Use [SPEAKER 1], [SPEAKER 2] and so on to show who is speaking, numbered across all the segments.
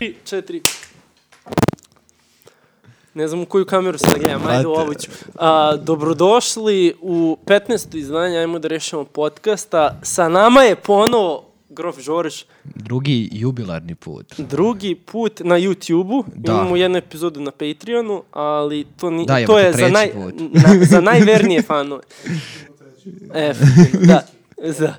[SPEAKER 1] 3, 4. Ne znam u koju kameru se nagledam, ajde u
[SPEAKER 2] Brate.
[SPEAKER 1] ovu ću. A, dobrodošli u 15. izdanje Ajmo da rešimo podcasta. Sa nama je ponovo Grof Žorž,
[SPEAKER 2] Drugi jubilarni put.
[SPEAKER 1] drugi put na YouTube-u.
[SPEAKER 2] Da.
[SPEAKER 1] Imamo jednu epizodu na Patreonu, ali to, ni,
[SPEAKER 2] Da,
[SPEAKER 1] to
[SPEAKER 2] jebote,
[SPEAKER 1] je za,
[SPEAKER 2] treći
[SPEAKER 1] naj,
[SPEAKER 2] put.
[SPEAKER 1] na, za najvernije fanove. E, da, za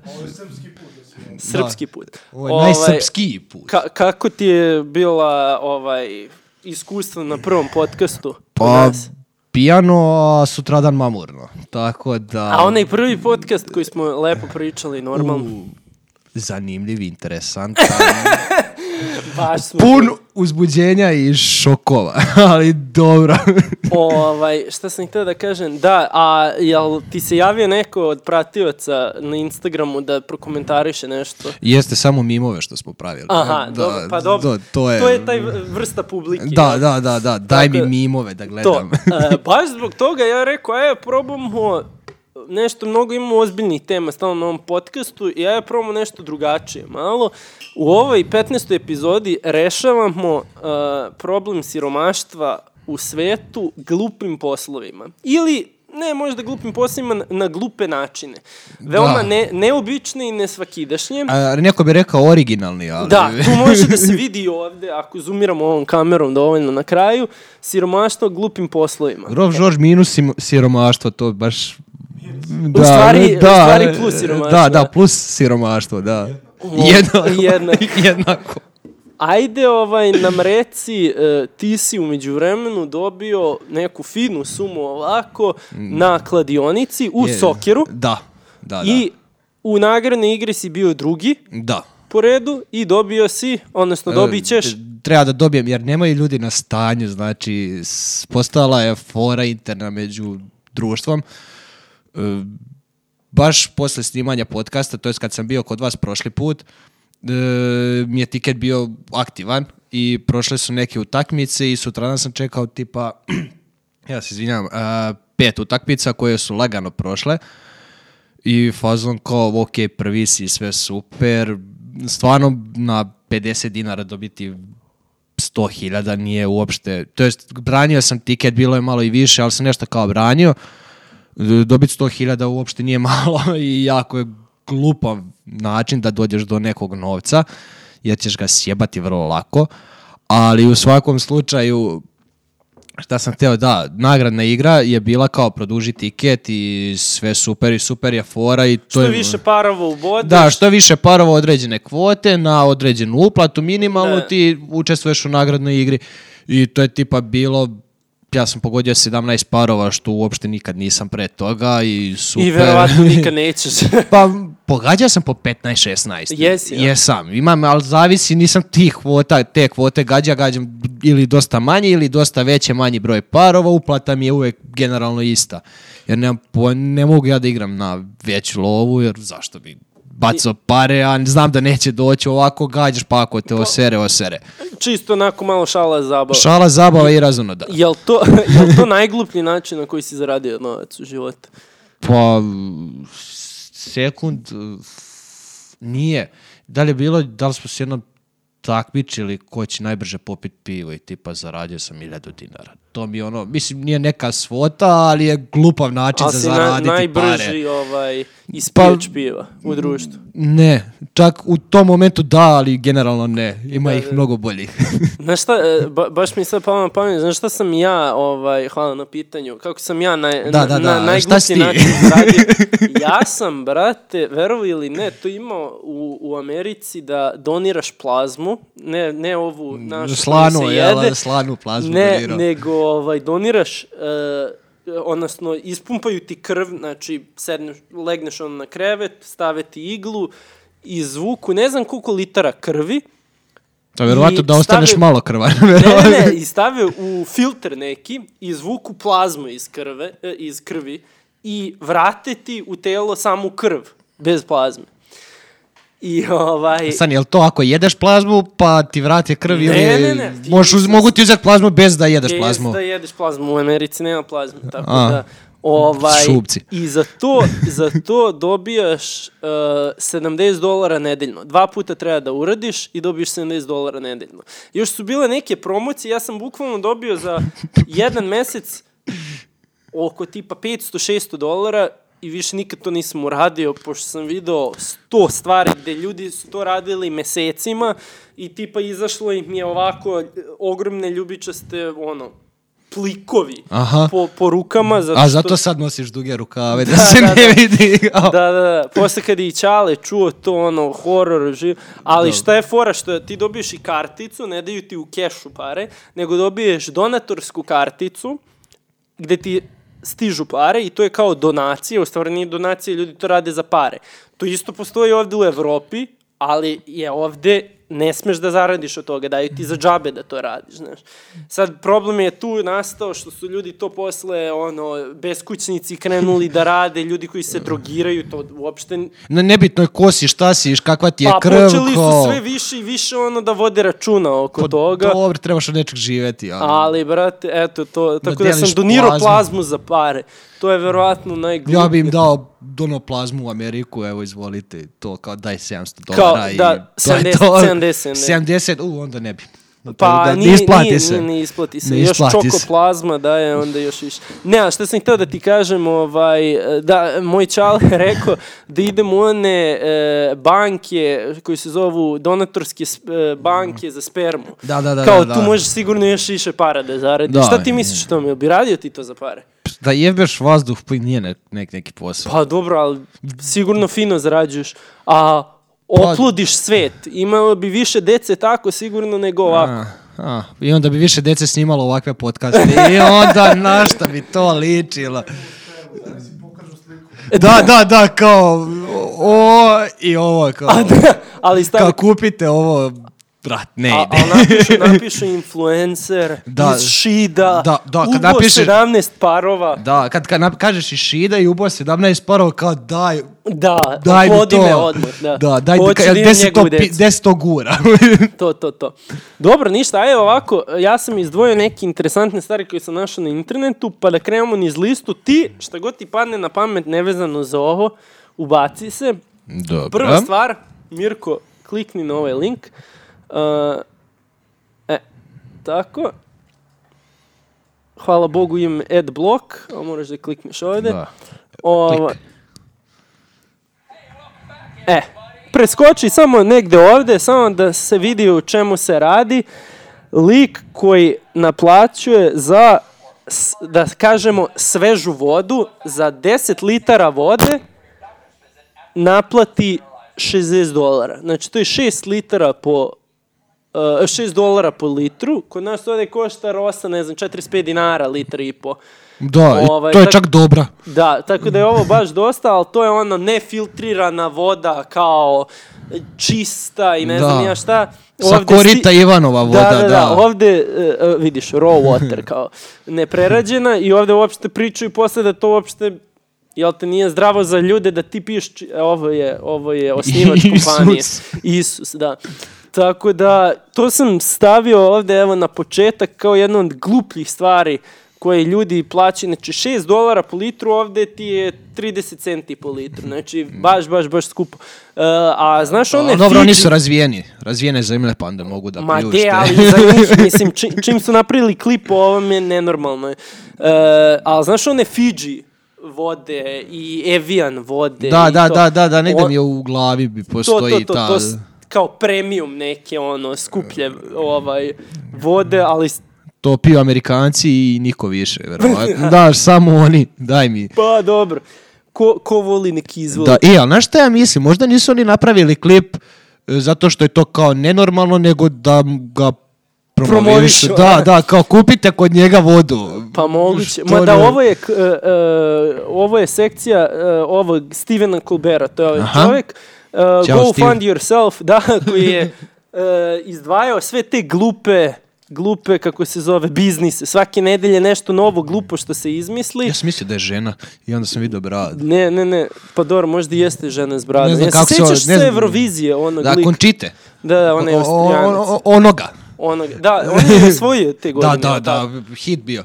[SPEAKER 1] srpski put.
[SPEAKER 2] Ovo je najsrpskiji put.
[SPEAKER 1] Ovaj, Ka kako ti je bila ovaj iskustvo na prvom podcastu? kod
[SPEAKER 2] Pa,
[SPEAKER 1] nas?
[SPEAKER 2] pijano, a sutradan mamurno. Tako da...
[SPEAKER 1] A onaj prvi podcast koji smo lepo pričali, normalno,
[SPEAKER 2] U, Zanimljiv, interesantan,
[SPEAKER 1] baš smo...
[SPEAKER 2] pun uzbuđenja i šokova, ali dobro.
[SPEAKER 1] Ovaj, šta sam htio da kažem, da, a jel ti se javio neko od pratioca na Instagramu da prokomentariše nešto?
[SPEAKER 2] Jeste samo mimove što smo pravili.
[SPEAKER 1] Aha,
[SPEAKER 2] Da,
[SPEAKER 1] dobro, pa dobro,
[SPEAKER 2] da, to je...
[SPEAKER 1] taj vrsta publike.
[SPEAKER 2] Da,
[SPEAKER 1] jel?
[SPEAKER 2] da, da, da, daj
[SPEAKER 1] Tako da-
[SPEAKER 2] mi mimove da
[SPEAKER 1] To,
[SPEAKER 2] gledam.
[SPEAKER 1] E, baš zbog toga ja rekao, e, probamo nešto, mnogo imamo ozbiljnih tema stalno na ovom podcastu i ja probamo nešto drugačije malo. U ovoj 15. epizodi rešavamo e, problem siromaštva u svetu glupim poslovima. Ili ne možda glupim poslovima na, na glupe načine. Veoma
[SPEAKER 2] Da.
[SPEAKER 1] ne, neobične i nesvakidašnje.
[SPEAKER 2] A, neko bi rekao originalni, ali...
[SPEAKER 1] Da, tu može da se vidi i ovde, ako zoomiramo ovom kamerom dovoljno na kraju, siromaštvo glupim poslovima.
[SPEAKER 2] Grof Žorž minus sim- siromaštvo, to baš... Da,
[SPEAKER 1] stvari- u stvari plus siromaštvo, da.
[SPEAKER 2] Da, da, plus siromaštvo, da.
[SPEAKER 1] O, jednako.
[SPEAKER 2] jednako. jednako.
[SPEAKER 1] Ajde, ovaj, nam reci, e, ti si umeđu vremenu dobio neku finu sumu ovako na kladionici u
[SPEAKER 2] Mm. Je,
[SPEAKER 1] Sokeru
[SPEAKER 2] Da, da, da.
[SPEAKER 1] i u nagradnoj igri si bio drugi
[SPEAKER 2] Da.
[SPEAKER 1] po redu i dobio si, odnosno dobit ćeš...
[SPEAKER 2] E, Treba da dobijem, jer nemaju ljudi na stanju, znači, s- postala je fora interna među društvom. E, baš posle snimanja podcasta, to je kad sam bio kod vas prošli put, e, mi je tiket bio aktivan i prošle su neke utakmice i sutradan sam čekao tipa, ja se izvinjam, a, pet utakmica koje su lagano prošle i fazon kao, ok, prvi si, sve super, stvarno na 50 dinara dobiti 100.000 nije uopšte, to jest branio sam tiket, bilo je malo i više, ali sam nešto kao branio, dobiti 100.000 uopšte nije malo i jako je glupav način da dođeš do nekog novca, jer ćeš ga sjebati vrlo lako, ali u svakom slučaju Šta sam hteo, da, nagradna igra je bila kao produži tiket i sve super i super je fora i to
[SPEAKER 1] Što
[SPEAKER 2] je...
[SPEAKER 1] više parova u bodu,
[SPEAKER 2] Da, što više parova određene kvote na određenu uplatu minimalnu
[SPEAKER 1] Da.
[SPEAKER 2] ti učestvuješ u nagradnoj igri i to je tipa bilo ja sam pogodio 17 parova što uopšte nikad nisam pre toga i super.
[SPEAKER 1] i verovatno nikad nećeš.
[SPEAKER 2] pa pogađao sam po 15 16.
[SPEAKER 1] Jesi, ja.
[SPEAKER 2] Jesam. Imam, ali zavisi, nisam tih kvota, te kvote gađa, gađam ili dosta manje ili dosta veće, manji broj parova, uplata mi je uvek generalno ista. Jer nemam po, ne mogu ja da igram na veću lovu, jer zašto bi bacao pare, a znam da neće doći ovako, gađaš pa ako te osere, osere.
[SPEAKER 1] Čisto onako malo šala zabava.
[SPEAKER 2] Šala, zabava i razumno da.
[SPEAKER 1] Jel to, jel to najgluplji način na koji si zaradio novac u životu?
[SPEAKER 2] Pa, sekund, eh, nije. Da li je bilo, da li smo se jednom takmičili ko će najbrže popit pivo i tipa zaradio sam 1000 dinara. To mi je ono, mislim, nije neka svota, ali je glupav način
[SPEAKER 1] Ali
[SPEAKER 2] za
[SPEAKER 1] si na-
[SPEAKER 2] zaraditi
[SPEAKER 1] najbrži
[SPEAKER 2] pare. Pa
[SPEAKER 1] ovaj, ispijač piva u društvu.
[SPEAKER 2] Ne, čak u tom momentu da, ali generalno ne. Ima ih mnogo boljih.
[SPEAKER 1] Znaš šta, e, ba- baš mi je sad palo na pamet, znaš šta sam ja, ovaj, hvala na pitanju, kako sam ja na,
[SPEAKER 2] Da,
[SPEAKER 1] na,
[SPEAKER 2] da,
[SPEAKER 1] na
[SPEAKER 2] da, šta si
[SPEAKER 1] najgluplji
[SPEAKER 2] ti?
[SPEAKER 1] način zaradio. Ja sam, brate, verovi ili ne, to imao u, u Americi da doniraš plazmu, ne, ne ovu našu
[SPEAKER 2] Slanu,
[SPEAKER 1] koju se
[SPEAKER 2] jel,
[SPEAKER 1] jede,
[SPEAKER 2] slanu plazmu
[SPEAKER 1] ne,
[SPEAKER 2] donirao.
[SPEAKER 1] nego ovaj, doniraš, e, odnosno ispumpaju ti krv, znači sedneš, legneš on na krevet, stave ti iglu, izvuku ne znam koliko litara krvi,
[SPEAKER 2] To je verovatno da ostaneš
[SPEAKER 1] stavi-
[SPEAKER 2] malo krvar.
[SPEAKER 1] ne, ne,
[SPEAKER 2] Ovaj-
[SPEAKER 1] ne, i stave u filter neki, izvuku plazmu iz, krve, e, iz krvi i vrate ti u telo samu krv, bez plazme. I ovaj...
[SPEAKER 2] San, jel to ako jedeš plazmu, pa ti vrati krv ili
[SPEAKER 1] Ne, ne, ne, ti
[SPEAKER 2] možeš uz-
[SPEAKER 1] nisi-
[SPEAKER 2] mogu ti uzeti plazmu bez da jedeš
[SPEAKER 1] Jest
[SPEAKER 2] plazmu?
[SPEAKER 1] da jedeš plazmu, u Americi nema plazme, tako
[SPEAKER 2] A.
[SPEAKER 1] da... Ovaj,
[SPEAKER 2] Šupci.
[SPEAKER 1] I za to, za to dobijaš uh, 70 dolara nedeljno. Dva puta treba da uradiš i dobiješ 70 dolara nedeljno. Još su bile neke promocije, ja sam bukvalno dobio za jedan mesec oko tipa 500-600 dolara i više nikad to nisam uradio, pošto sam video 100 stvari gde ljudi su to radili mesecima i tipa izašlo im je ovako e, ogromne ljubičaste, ono, plikovi
[SPEAKER 2] Aha.
[SPEAKER 1] po, po rukama. Zato
[SPEAKER 2] A
[SPEAKER 1] što-
[SPEAKER 2] zato sad nosiš duge rukave, da, se
[SPEAKER 1] da,
[SPEAKER 2] ne
[SPEAKER 1] da.
[SPEAKER 2] vidi.
[SPEAKER 1] Da, da, da. Posle kad je i Ćale čuo to, ono, horor, živ... Ali šta je fora, što ti dobiješ i karticu, ne daju ti u kešu pare, nego dobiješ donatorsku karticu, gde ti stižu pare i to je kao donacija, u stvari nije donacija, ljudi to rade za pare. To isto postoji ovde u Evropi, ali je ovde ne smeš da zaradiš od toga, daju ti za džabe da to radiš, znaš. Sad, problem je tu nastao što su ljudi to posle, ono, beskućnici krenuli da rade, ljudi koji se drogiraju, to uopšte
[SPEAKER 2] Ne, nebitno je ko si, šta si, kakva ti je
[SPEAKER 1] pa
[SPEAKER 2] krv.
[SPEAKER 1] počeli su
[SPEAKER 2] ko-
[SPEAKER 1] sve više i više ono da vode računa oko
[SPEAKER 2] Pa
[SPEAKER 1] toga.
[SPEAKER 2] Dobro, trebaš od nečeg živeti. Ali.
[SPEAKER 1] Ali, brate, eto to. Tako da, sam
[SPEAKER 2] deliš
[SPEAKER 1] donirao plazmu.
[SPEAKER 2] plazmu.
[SPEAKER 1] za pare. To je verovatno najgluplje.
[SPEAKER 2] Ja bi im dao donoplazmu u Ameriku, evo izvolite, to kao daj 700
[SPEAKER 1] Kao,
[SPEAKER 2] dolara i
[SPEAKER 1] da,
[SPEAKER 2] to je
[SPEAKER 1] 70,
[SPEAKER 2] to.
[SPEAKER 1] 70, ne.
[SPEAKER 2] 70, u, onda ne bi.
[SPEAKER 1] Pa
[SPEAKER 2] Tako da,
[SPEAKER 1] nije,
[SPEAKER 2] ne
[SPEAKER 1] isplati
[SPEAKER 2] isplati
[SPEAKER 1] nije,
[SPEAKER 2] se.
[SPEAKER 1] Nije, nije isplati se.
[SPEAKER 2] Ne
[SPEAKER 1] još
[SPEAKER 2] isplati se.
[SPEAKER 1] čokoplazma daje onda još više. Ne, a šta sam htio da ti kažem, ovaj, da, moj čal je rekao da idem u one e, banke koji se zovu donatorske sp- e, banke za spermu.
[SPEAKER 2] Da, da, da,
[SPEAKER 1] Kao
[SPEAKER 2] da,
[SPEAKER 1] tu
[SPEAKER 2] da.
[SPEAKER 1] možeš sigurno još više para da zaradiš.
[SPEAKER 2] Da,
[SPEAKER 1] šta ti
[SPEAKER 2] je.
[SPEAKER 1] misliš o tome? Jel Bi radio ti to za pare?
[SPEAKER 2] Da jebeš vazduh, pa i nije ne- nek, neki posao.
[SPEAKER 1] Pa dobro, ali sigurno fino zarađuješ. A
[SPEAKER 2] Pa-
[SPEAKER 1] opludiš svet. Imao bi više dece tako sigurno nego ovako.
[SPEAKER 2] A, a, I onda bi više dece snimalo ovakve podcaste. I onda na šta bi to ličilo. Da, da, da, kao o, i ovo, kao,
[SPEAKER 1] ali stavi
[SPEAKER 2] kao kupite ovo, brat, ne
[SPEAKER 1] A,
[SPEAKER 2] ide.
[SPEAKER 1] ali napišu, napišu influencer da,
[SPEAKER 2] Da.
[SPEAKER 1] iz Šida,
[SPEAKER 2] Da, da, kad
[SPEAKER 1] ubo
[SPEAKER 2] napišeš-
[SPEAKER 1] 17 parova.
[SPEAKER 2] Da, kad, kad nap- kažeš i Šida i ubo 17 parova, kao daj,
[SPEAKER 1] Da,
[SPEAKER 2] daj mi
[SPEAKER 1] vodi
[SPEAKER 2] to.
[SPEAKER 1] me odmah. Da,
[SPEAKER 2] da daj,
[SPEAKER 1] Hoću
[SPEAKER 2] ka,
[SPEAKER 1] da
[SPEAKER 2] gde
[SPEAKER 1] imam
[SPEAKER 2] se to,
[SPEAKER 1] njegovu
[SPEAKER 2] pi-
[SPEAKER 1] decu.
[SPEAKER 2] gde se to gura?
[SPEAKER 1] To, to, to. Dobro, ništa, evo ovako, ja sam izdvojio neke interesantne stvari koje sam našao na internetu, pa da krenemo niz listu. Ti, šta god ti padne na pamet nevezano za ovo, ubaci se.
[SPEAKER 2] Dobro.
[SPEAKER 1] Prva stvar, Mirko, klikni na ovaj link. Uh, e, tako. Hvala Bogu imam ad blok, a moraš da klikneš ovde.
[SPEAKER 2] Da.
[SPEAKER 1] Ovo- Ovaj. E, preskoči samo negde ovde, samo da se vidi u čemu se radi. Lik koji naplaćuje za, s- da kažemo, svežu vodu, za 10 litara vode naplati 60 dolara. Znači, to je 6 litara po Uh, 6 dolara po litru, kod nas ovde košta rosa, ne znam, 45 dinara litar i po.
[SPEAKER 2] Da, i
[SPEAKER 1] Ovaj,
[SPEAKER 2] to je
[SPEAKER 1] tak-
[SPEAKER 2] čak dobra.
[SPEAKER 1] Da, tako da je ovo baš dosta, ali to je ono nefiltrirana voda kao čista i ne znam
[SPEAKER 2] Da.
[SPEAKER 1] ni ja šta.
[SPEAKER 2] Sa
[SPEAKER 1] Ovde sti-
[SPEAKER 2] korita Ivanova voda,
[SPEAKER 1] da, da,
[SPEAKER 2] da.
[SPEAKER 1] Ovde e, e, vidiš raw water kao neprerađena i ovde uopšte pričaju posle da to uopšte jel te nije zdravo za ljude da ti piješ či- e, ovo je ovo je osnivač
[SPEAKER 2] Isus.
[SPEAKER 1] kompanije. Isus, da. Tako da to sam stavio ovde evo na početak kao jednu od glupljih stvari koje ljudi plaćaju, znači 6 dolara po litru, ovde ti je 30 centi po litru, znači baš, baš, baš skupo. E, a znaš one
[SPEAKER 2] A, dobro, oni
[SPEAKER 1] Fiji-
[SPEAKER 2] su razvijeni. Razvijene zemlje pa onda mogu da
[SPEAKER 1] Ma
[SPEAKER 2] pljušte.
[SPEAKER 1] de, ali za njih, mislim, čim, čim su napravili klip o ovom je nenormalno. je. E, ali znaš one Fiji vode i Evian vode?
[SPEAKER 2] Da,
[SPEAKER 1] i
[SPEAKER 2] da,
[SPEAKER 1] to.
[SPEAKER 2] da, da, da, negde
[SPEAKER 1] O-
[SPEAKER 2] mi je u glavi bi
[SPEAKER 1] to, to,
[SPEAKER 2] postoji
[SPEAKER 1] to, to,
[SPEAKER 2] ta...
[SPEAKER 1] to, s- kao premium neke ono skuplje
[SPEAKER 2] Mm.
[SPEAKER 1] ovaj vode, ali s-
[SPEAKER 2] To piju Amerikanci i niko više, verovatno. da, samo oni, daj mi.
[SPEAKER 1] pa dobro. Ko, ko voli neki izvoli.
[SPEAKER 2] Da, i, ali znaš šta ja mislim, možda nisu oni napravili klip e, zato što je to kao nenormalno, nego da m- ga promovišu.
[SPEAKER 1] Promovišu, da.
[SPEAKER 2] Da, da, kao kupite kod njega vodu.
[SPEAKER 1] e. Pa moguće.
[SPEAKER 2] Što
[SPEAKER 1] Ma da,
[SPEAKER 2] ne-
[SPEAKER 1] ovo je, k- e, e, ovo je sekcija e, ovog Stevena Colbera, to je ovaj
[SPEAKER 2] Aha.
[SPEAKER 1] čovjek. E,
[SPEAKER 2] Ćao,
[SPEAKER 1] go
[SPEAKER 2] Steve.
[SPEAKER 1] fund yourself, da, koji je e, izdvajao sve te glupe glupe, kako se zove, biznise. Svake nedelje nešto novo, glupo što se izmisli.
[SPEAKER 2] Ja sam mislio da je žena i onda sam vidio brad.
[SPEAKER 1] Ne, ne, ne, pa dobro, možda i jeste žena s bradom.
[SPEAKER 2] Ne znam
[SPEAKER 1] Ja se
[SPEAKER 2] kako se ovo-
[SPEAKER 1] sjećaš
[SPEAKER 2] ne
[SPEAKER 1] sve
[SPEAKER 2] znam.
[SPEAKER 1] Eurovizije, onog
[SPEAKER 2] Da,
[SPEAKER 1] lika.
[SPEAKER 2] končite.
[SPEAKER 1] Da, da, onaj
[SPEAKER 2] O- o-
[SPEAKER 1] Austrijanac.
[SPEAKER 2] o- onoga.
[SPEAKER 1] Onog, da, on je osvojio te godine.
[SPEAKER 2] Da, da,
[SPEAKER 1] jel tako?
[SPEAKER 2] da, hit bio.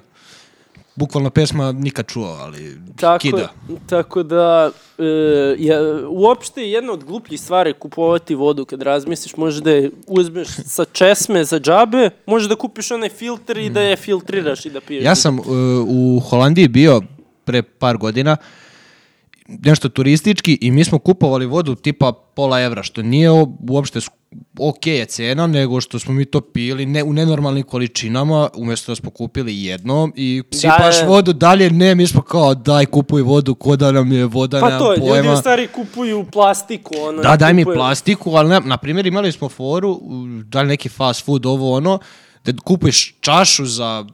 [SPEAKER 2] bukvalno pesma nikad čuo, ali
[SPEAKER 1] Tako,
[SPEAKER 2] kida.
[SPEAKER 1] tako da, e, ja, uopšte je jedna od glupljih stvari kupovati vodu kad razmisliš, možeš da je uzmeš sa česme za džabe, možeš da kupiš onaj filtr i da je filtriraš i da piješ.
[SPEAKER 2] Mm. Ja sam e, u Holandiji bio pre par godina nešto turistički i mi smo kupovali vodu tipa pola evra, što nije o- uopšte sk- ok je cena, nego što smo mi to pili ne, u nenormalnim količinama, umjesto da smo kupili jednom i sipaš
[SPEAKER 1] da.
[SPEAKER 2] vodu dalje, ne, mi smo kao daj kupuj vodu, ko da nam je voda,
[SPEAKER 1] Pa
[SPEAKER 2] nemam
[SPEAKER 1] to,
[SPEAKER 2] pojma.
[SPEAKER 1] ljudi u stvari kupuju plastiku. Ono,
[SPEAKER 2] Da,
[SPEAKER 1] ne
[SPEAKER 2] daj mi
[SPEAKER 1] kupuju-
[SPEAKER 2] plastiku, ali na, na primjer imali smo foru, u- da li neki fast food, ovo ono, da kupiš čašu za,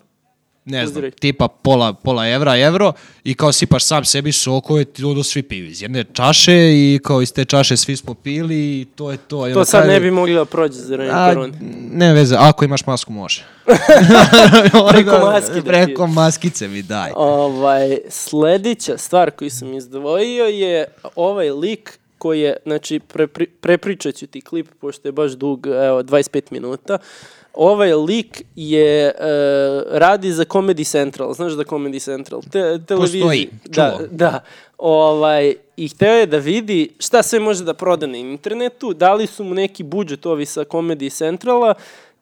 [SPEAKER 2] ne znam,
[SPEAKER 1] Uzdiraj.
[SPEAKER 2] tipa pola, pola evra, evro, i kao sipaš sam sebi sokove, ti odo svi pivi iz jedne čaše i kao iz te čaše svi smo pili i to je to. I
[SPEAKER 1] To
[SPEAKER 2] na
[SPEAKER 1] sad
[SPEAKER 2] kraju-
[SPEAKER 1] ne bi mogli da prođe za vreme
[SPEAKER 2] A,
[SPEAKER 1] korone.
[SPEAKER 2] ne veze, ako imaš masku može.
[SPEAKER 1] Preko maski da
[SPEAKER 2] Preko maskice mi daj.
[SPEAKER 1] Ovaj, sledeća stvar koju sam izdvojio je ovaj lik koji je, znači, prepri, prepričat ću ti klip, pošto je baš dug, evo, 25 minuta. Ovaj lik je, e, radi za Comedy Central, znaš da Comedy Central, te, televiziji.
[SPEAKER 2] Postoji,
[SPEAKER 1] da,
[SPEAKER 2] čuo.
[SPEAKER 1] da. Ovaj, I hteo je da vidi šta sve može da proda na internetu, dali su mu neki budžet ovi sa Comedy Centrala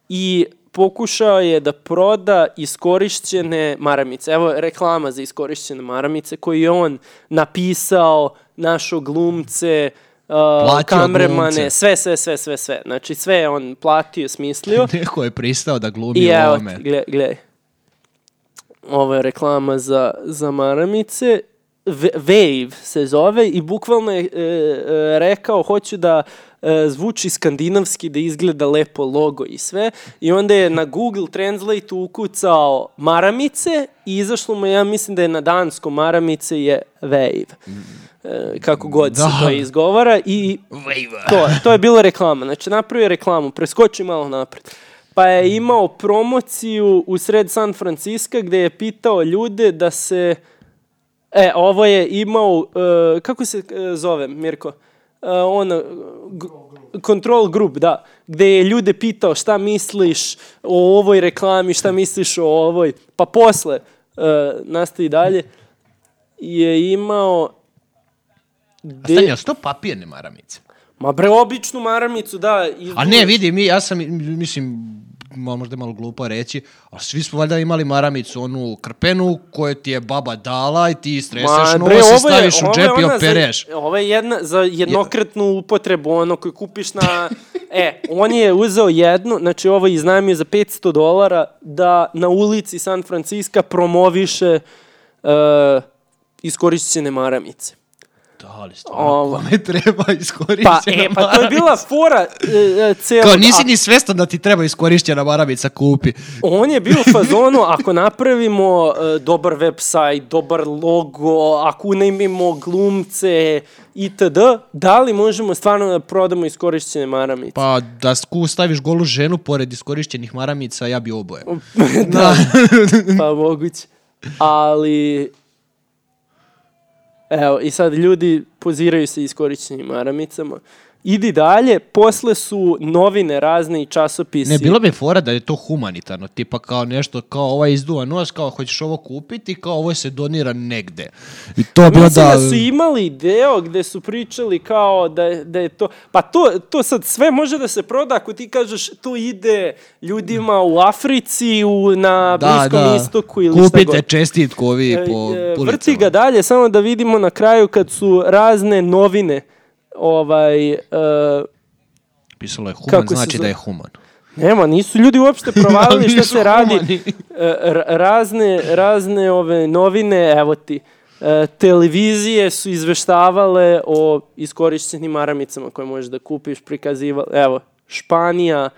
[SPEAKER 1] i pokušao je da proda iskorišćene maramice. Evo reklama za iskorišćene maramice koju je on napisao, našo glumce, uh,
[SPEAKER 2] Platio
[SPEAKER 1] kamremane,
[SPEAKER 2] glumce.
[SPEAKER 1] sve, sve, sve, sve, sve. Znači sve je on platio, smislio.
[SPEAKER 2] Neko je pristao da glumi
[SPEAKER 1] I evo,
[SPEAKER 2] ovome.
[SPEAKER 1] ti, gle, gledaj. Ovo je reklama za, za maramice. V Wave se zove i bukvalno je e, e, rekao hoću da e, zvuči skandinavski, da izgleda lepo logo i sve. I onda je na Google Translate ukucao maramice i izašlo mu, je, ja mislim da je na danskom maramice je Wave. E, kako god se
[SPEAKER 2] Da.
[SPEAKER 1] to izgovara i to, to je bila reklama. Znači, napravio je reklamu, preskoči malo napred. Pa je imao promociju u sred San Francisca gde je pitao ljude da se... E, ovo je imao... e, kako se e, zove, Mirko? E, ono, g- control group, da. Gde je ljude pitao šta misliš o ovoj reklami, šta misliš o ovoj. Pa posle, e, nastavi dalje, je imao...
[SPEAKER 2] A
[SPEAKER 1] gde-
[SPEAKER 2] stani, jel su to papirne maramice?
[SPEAKER 1] Ma bre, običnu maramicu, da. Iz...
[SPEAKER 2] A ne, vidi, mi, ja sam, mislim, malo, možda je malo glupo reći, a svi smo valjda imali maramicu, onu krpenu koju ti je baba dala i ti streseš novo,
[SPEAKER 1] ovo
[SPEAKER 2] se
[SPEAKER 1] je-
[SPEAKER 2] staviš u
[SPEAKER 1] ovo je
[SPEAKER 2] džep i
[SPEAKER 1] ona
[SPEAKER 2] opereš.
[SPEAKER 1] Za, ovo je jedna, za jednokratnu upotrebu, ono koju kupiš na... e, on je uzeo jednu, znači ovo je iznajmio za 500 dolara da na ulici San Francisca promoviše uh, iskorišćene maramice.
[SPEAKER 2] Da, ali stvarno,
[SPEAKER 1] Ovo.
[SPEAKER 2] kome treba iskorišćena
[SPEAKER 1] Pa, e, pa to je bila fora e, e, celog...
[SPEAKER 2] Kao, nisi
[SPEAKER 1] a-
[SPEAKER 2] ni svestan da ti treba iskorišćena maramica kupi.
[SPEAKER 1] On je bio u fazonu, ako napravimo e, dobar website, dobar logo, ako unajmimo glumce itd., da li možemo stvarno da prodamo iskorišćene maramice?
[SPEAKER 2] Pa da sku staviš golu ženu pored iskorišćenih maramica, ja bi oboje.
[SPEAKER 1] da, pa moguće. Ali, evo, i sad ljudi poziraju se iskorišćenim maramicama. Idi dalje, posle su novine razne i časopisi.
[SPEAKER 2] Ne, bilo bi fora da je to humanitarno, tipa kao nešto, kao ovaj izduva nos, kao hoćeš ovo kupiti, kao ovo se donira negde. I to bi
[SPEAKER 1] Mislim
[SPEAKER 2] onda...
[SPEAKER 1] da su imali deo gde su pričali kao da je, da je to... Pa to, to sad sve može da se proda ako ti kažeš to ide ljudima u Africi, u, na Bliskom istoku ili šta
[SPEAKER 2] Kupite
[SPEAKER 1] god.
[SPEAKER 2] čestitku ovi
[SPEAKER 1] E,
[SPEAKER 2] po
[SPEAKER 1] e,
[SPEAKER 2] ulicama.
[SPEAKER 1] Vrti ga dalje, samo da vidimo na kraju kad su razne novine ovaj, e,
[SPEAKER 2] Pisalo je human,
[SPEAKER 1] Kako se
[SPEAKER 2] znači
[SPEAKER 1] zove?
[SPEAKER 2] da je human.
[SPEAKER 1] nema, nisu ljudi uopšte provalili šta
[SPEAKER 2] nisu
[SPEAKER 1] se radi.
[SPEAKER 2] humani.
[SPEAKER 1] E, ra- razne, razne ove novine, evo ti, e, televizije su izveštavale o iskorišćenim maramicama koje možeš da kupiš, prikazivale, evo, Španija,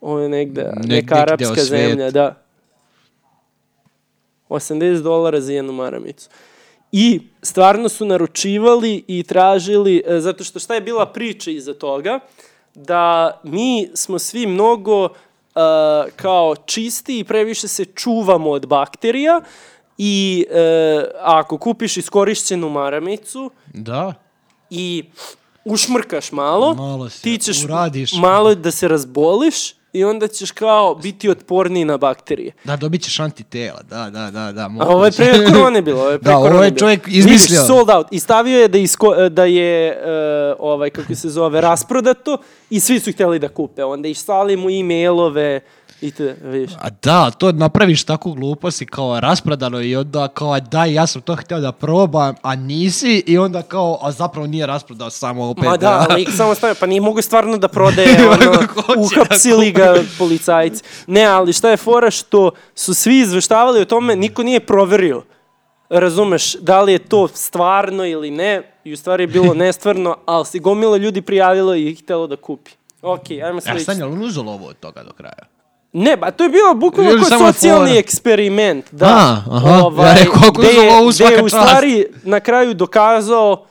[SPEAKER 1] ovo je negde,
[SPEAKER 2] neki
[SPEAKER 1] neka
[SPEAKER 2] deo
[SPEAKER 1] arapska
[SPEAKER 2] sveta.
[SPEAKER 1] zemlja, da. 80 dolara za jednu maramicu. I stvarno su naručivali i tražili, e, zato što šta je bila priča iza toga, da mi smo svi mnogo e, kao čisti i previše se čuvamo od bakterija i e, ako kupiš iskorišćenu maramicu
[SPEAKER 2] Da.
[SPEAKER 1] i ušmrkaš malo,
[SPEAKER 2] Malo se
[SPEAKER 1] ti ćeš
[SPEAKER 2] uradiš.
[SPEAKER 1] malo da se razboliš i onda ćeš kao biti otporniji na bakterije.
[SPEAKER 2] Da, dobit ćeš antitela, da, da, da. da
[SPEAKER 1] A ovo je
[SPEAKER 2] moguće.
[SPEAKER 1] pre korone bilo, ovo je pre
[SPEAKER 2] Da,
[SPEAKER 1] korone
[SPEAKER 2] ovo je
[SPEAKER 1] bilo.
[SPEAKER 2] čovjek
[SPEAKER 1] Vidiš,
[SPEAKER 2] izmislio.
[SPEAKER 1] sold out. I stavio je da, isko, da je, e, ovaj, kako se zove, rasprodato i svi su htjeli da kupe. Onda i slali mu e-mailove i te, vidiš.
[SPEAKER 2] A da, to napraviš takvu glupost i kao rasprodano i onda kao "A daj ja sam to htio da probam, a nisi i onda kao, a zapravo nije rasprodao samo opet.
[SPEAKER 1] Ma da, lik samo stavio, pa nije mogu stvarno da prodaje, ono,
[SPEAKER 2] Ko će da
[SPEAKER 1] uhapsili ga policajci. Ne, ali šta je fora što su svi izveštavali o tome, niko nije proverio. Razumeš, da li je to stvarno ili ne, i u stvari je bilo nestvarno, ali se gomila ljudi prijavilo i htelo da kupi. Ok, ajmo
[SPEAKER 2] Ja
[SPEAKER 1] sledeći.
[SPEAKER 2] sam E, je li on uzelo ovo od toga do kraja?
[SPEAKER 1] Ne, ba, to je bilo bukvalno
[SPEAKER 2] Ili
[SPEAKER 1] kao
[SPEAKER 2] samo
[SPEAKER 1] socijalni
[SPEAKER 2] fora.
[SPEAKER 1] eksperiment. Da, ovaj,
[SPEAKER 2] A, aha, ja rekao, ako
[SPEAKER 1] gde je-
[SPEAKER 2] uzmem ovu,
[SPEAKER 1] gde je
[SPEAKER 2] svaka
[SPEAKER 1] u
[SPEAKER 2] čast.
[SPEAKER 1] stvari na kraju dokazao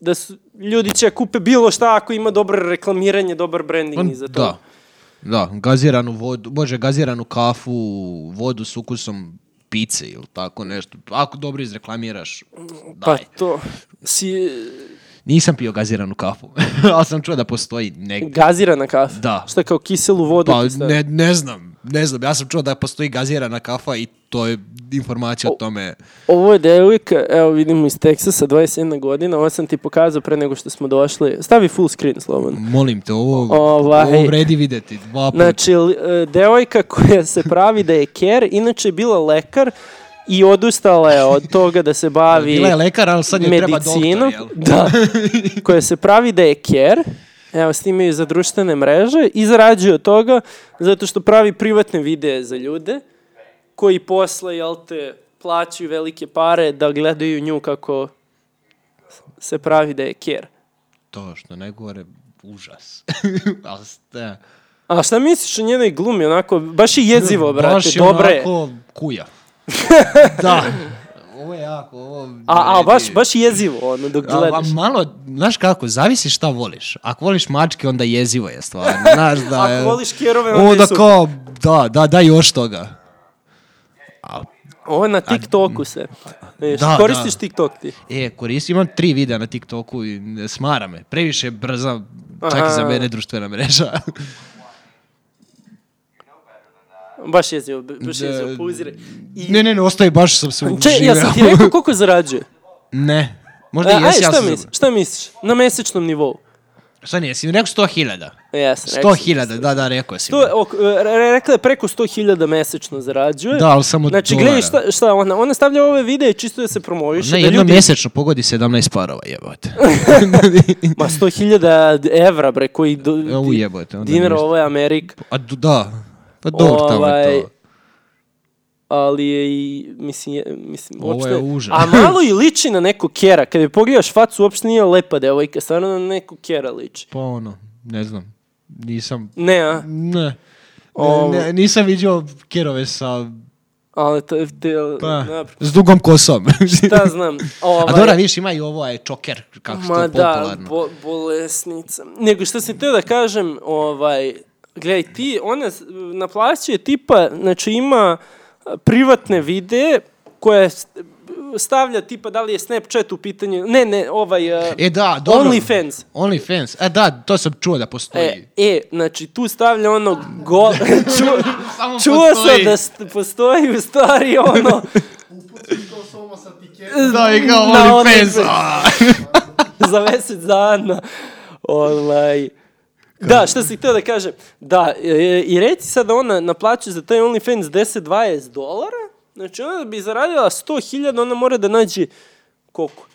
[SPEAKER 1] da su, ljudi će kupe bilo šta ako ima dobro reklamiranje, dobar branding
[SPEAKER 2] On-
[SPEAKER 1] iza toga.
[SPEAKER 2] da. Da, gaziranu vodu, bože, gaziranu kafu, vodu s ukusom pice ili tako nešto. Ako dobro izreklamiraš,
[SPEAKER 1] Pa
[SPEAKER 2] daj.
[SPEAKER 1] to, si,
[SPEAKER 2] Nisam pio gaziranu kafu, ali sam čuo da postoji negdje.
[SPEAKER 1] gazirana kafa.
[SPEAKER 2] Da.
[SPEAKER 1] Šta kao kiselu vodu.
[SPEAKER 2] Pa
[SPEAKER 1] ti stavi.
[SPEAKER 2] ne, ne znam, ne znam, ja sam čuo da postoji gazirana kafa i to je informacija o tome.
[SPEAKER 1] Ovo je devojka, evo vidimo iz Teksasa, 21 godina, ovo sam ti pokazao pre nego što smo došli. Stavi full screen slobodno.
[SPEAKER 2] Molim te, ovo,
[SPEAKER 1] Ovaj.
[SPEAKER 2] ovo vredi vidjeti dva puta.
[SPEAKER 1] Znači, li- e, devojka koja se pravi da je ker, inače je bila lekar i odustala je od toga da se bavi
[SPEAKER 2] Bila je lekar, ali sad joj treba doktor,
[SPEAKER 1] medicinom.
[SPEAKER 2] jel?
[SPEAKER 1] Da. koja se pravi da je ker, evo, snimaju za društvene mreže i zarađuje od toga zato što pravi privatne videe za ljude koji posle, jel te, plaćaju velike pare da gledaju nju kako se pravi da je ker.
[SPEAKER 2] To što ne govore, užas. ali, ste-
[SPEAKER 1] A šta misliš o njenoj glumi, onako, baš je jezivo, brate,
[SPEAKER 2] Baš je
[SPEAKER 1] dobre. je.
[SPEAKER 2] onako kuja. da. Ovo je jako, ovo...
[SPEAKER 1] A, a baš, baš jezivo, ono, dok
[SPEAKER 2] A, a
[SPEAKER 1] gledaš.
[SPEAKER 2] malo, znaš kako, zavisi šta voliš. Ako voliš mačke, onda jezivo je stvarno. Znaš da je-
[SPEAKER 1] Ako voliš kerove, onda
[SPEAKER 2] Onda
[SPEAKER 1] su...
[SPEAKER 2] kao, da, da, da, još toga.
[SPEAKER 1] Ovo je na TikToku se. Vidiš,
[SPEAKER 2] Da,
[SPEAKER 1] koristiš
[SPEAKER 2] da.
[SPEAKER 1] TikTok ti.
[SPEAKER 2] E, koristim, imam tri videa na TikToku i ne- smara me. Previše je brza, čak i za
[SPEAKER 1] Aha.
[SPEAKER 2] mene društvena mreža.
[SPEAKER 1] Baš jezivo, b- baš
[SPEAKER 2] Da.
[SPEAKER 1] jezivo, pauziraj. I...
[SPEAKER 2] ne, ne, ne, ostaje, baš sam se
[SPEAKER 1] Če, ja sam ti
[SPEAKER 2] uživeo.
[SPEAKER 1] rekao koliko zarađuje.
[SPEAKER 2] Ne.
[SPEAKER 1] A,
[SPEAKER 2] Možda i
[SPEAKER 1] aj,
[SPEAKER 2] jesi, ja
[SPEAKER 1] šta
[SPEAKER 2] sam...
[SPEAKER 1] misliš? Šta misliš? Na mesečnom nivou. E,
[SPEAKER 2] Šta nijesi? Rekao sto hiljada.
[SPEAKER 1] Jesam,
[SPEAKER 2] Sto hiljada, da, da, rekao si.
[SPEAKER 1] To, je ok, e, re- re- rekla je preko 100.000 mesečno zarađuje.
[SPEAKER 2] Da, ali samo
[SPEAKER 1] Znači,
[SPEAKER 2] dolara.
[SPEAKER 1] gledaj šta, šta ona, ona stavlja ove videe čisto da se promoviše.
[SPEAKER 2] Ne,
[SPEAKER 1] da
[SPEAKER 2] jedno
[SPEAKER 1] ljudi,
[SPEAKER 2] mjesečno pogodi 17 parova, jebote.
[SPEAKER 1] Ma 100.000 evra, bre, koji... Do,
[SPEAKER 2] U jebote. E, onda
[SPEAKER 1] dinara,
[SPEAKER 2] ništa.
[SPEAKER 1] ovo je Amerika.
[SPEAKER 2] A d- da, pa dobro tamo
[SPEAKER 1] Ovaj,
[SPEAKER 2] je to.
[SPEAKER 1] ali je i, mislim, je, mislim
[SPEAKER 2] Ovo
[SPEAKER 1] uopšte,
[SPEAKER 2] je užas.
[SPEAKER 1] A malo i liči na neku kjera. Kada je pogledaš facu, uopšte nije lepa devojka, stvarno na neku kjera liči.
[SPEAKER 2] Pa ono, ne znam, nisam,
[SPEAKER 1] Ne, a?
[SPEAKER 2] ne.
[SPEAKER 1] O-
[SPEAKER 2] Ne, nisam vidio kerove sa,
[SPEAKER 1] Ali to je, te,
[SPEAKER 2] pa,
[SPEAKER 1] napr-
[SPEAKER 2] s dugom kosom.
[SPEAKER 1] šta znam. Ovaj,
[SPEAKER 2] A dobra, viš, ima i ovo, je čoker, kako što
[SPEAKER 1] Ma
[SPEAKER 2] je
[SPEAKER 1] da,
[SPEAKER 2] popularno.
[SPEAKER 1] bo, bolesnica. Nego što sam teo da kažem, ovaj, gledaj, ti, ona s- naplaćuje tipa, znači ima a, privatne videe koje s- stavlja tipa da li je Snapchat u pitanju, ne, ne, ovaj, a,
[SPEAKER 2] E da, dobro.
[SPEAKER 1] OnlyFans.
[SPEAKER 2] OnlyFans, a da, to sam čuo da postoji.
[SPEAKER 1] E, e, znači tu stavlja ono gol... Čuo,
[SPEAKER 2] Samo
[SPEAKER 1] čuo sam
[SPEAKER 2] postoji.
[SPEAKER 1] da st- postoji u stvari ono...
[SPEAKER 2] Da, i kao
[SPEAKER 1] na
[SPEAKER 2] OnlyFans.
[SPEAKER 1] OnlyFans.
[SPEAKER 2] a.
[SPEAKER 1] za mesec dana. Onaj... Da, što si htio da kažem? Da, e, i reci sad da ona naplaćuje za taj OnlyFans 10-20 dolara, znači ona da bi zaradila 100.000, ona mora da nađe koliko?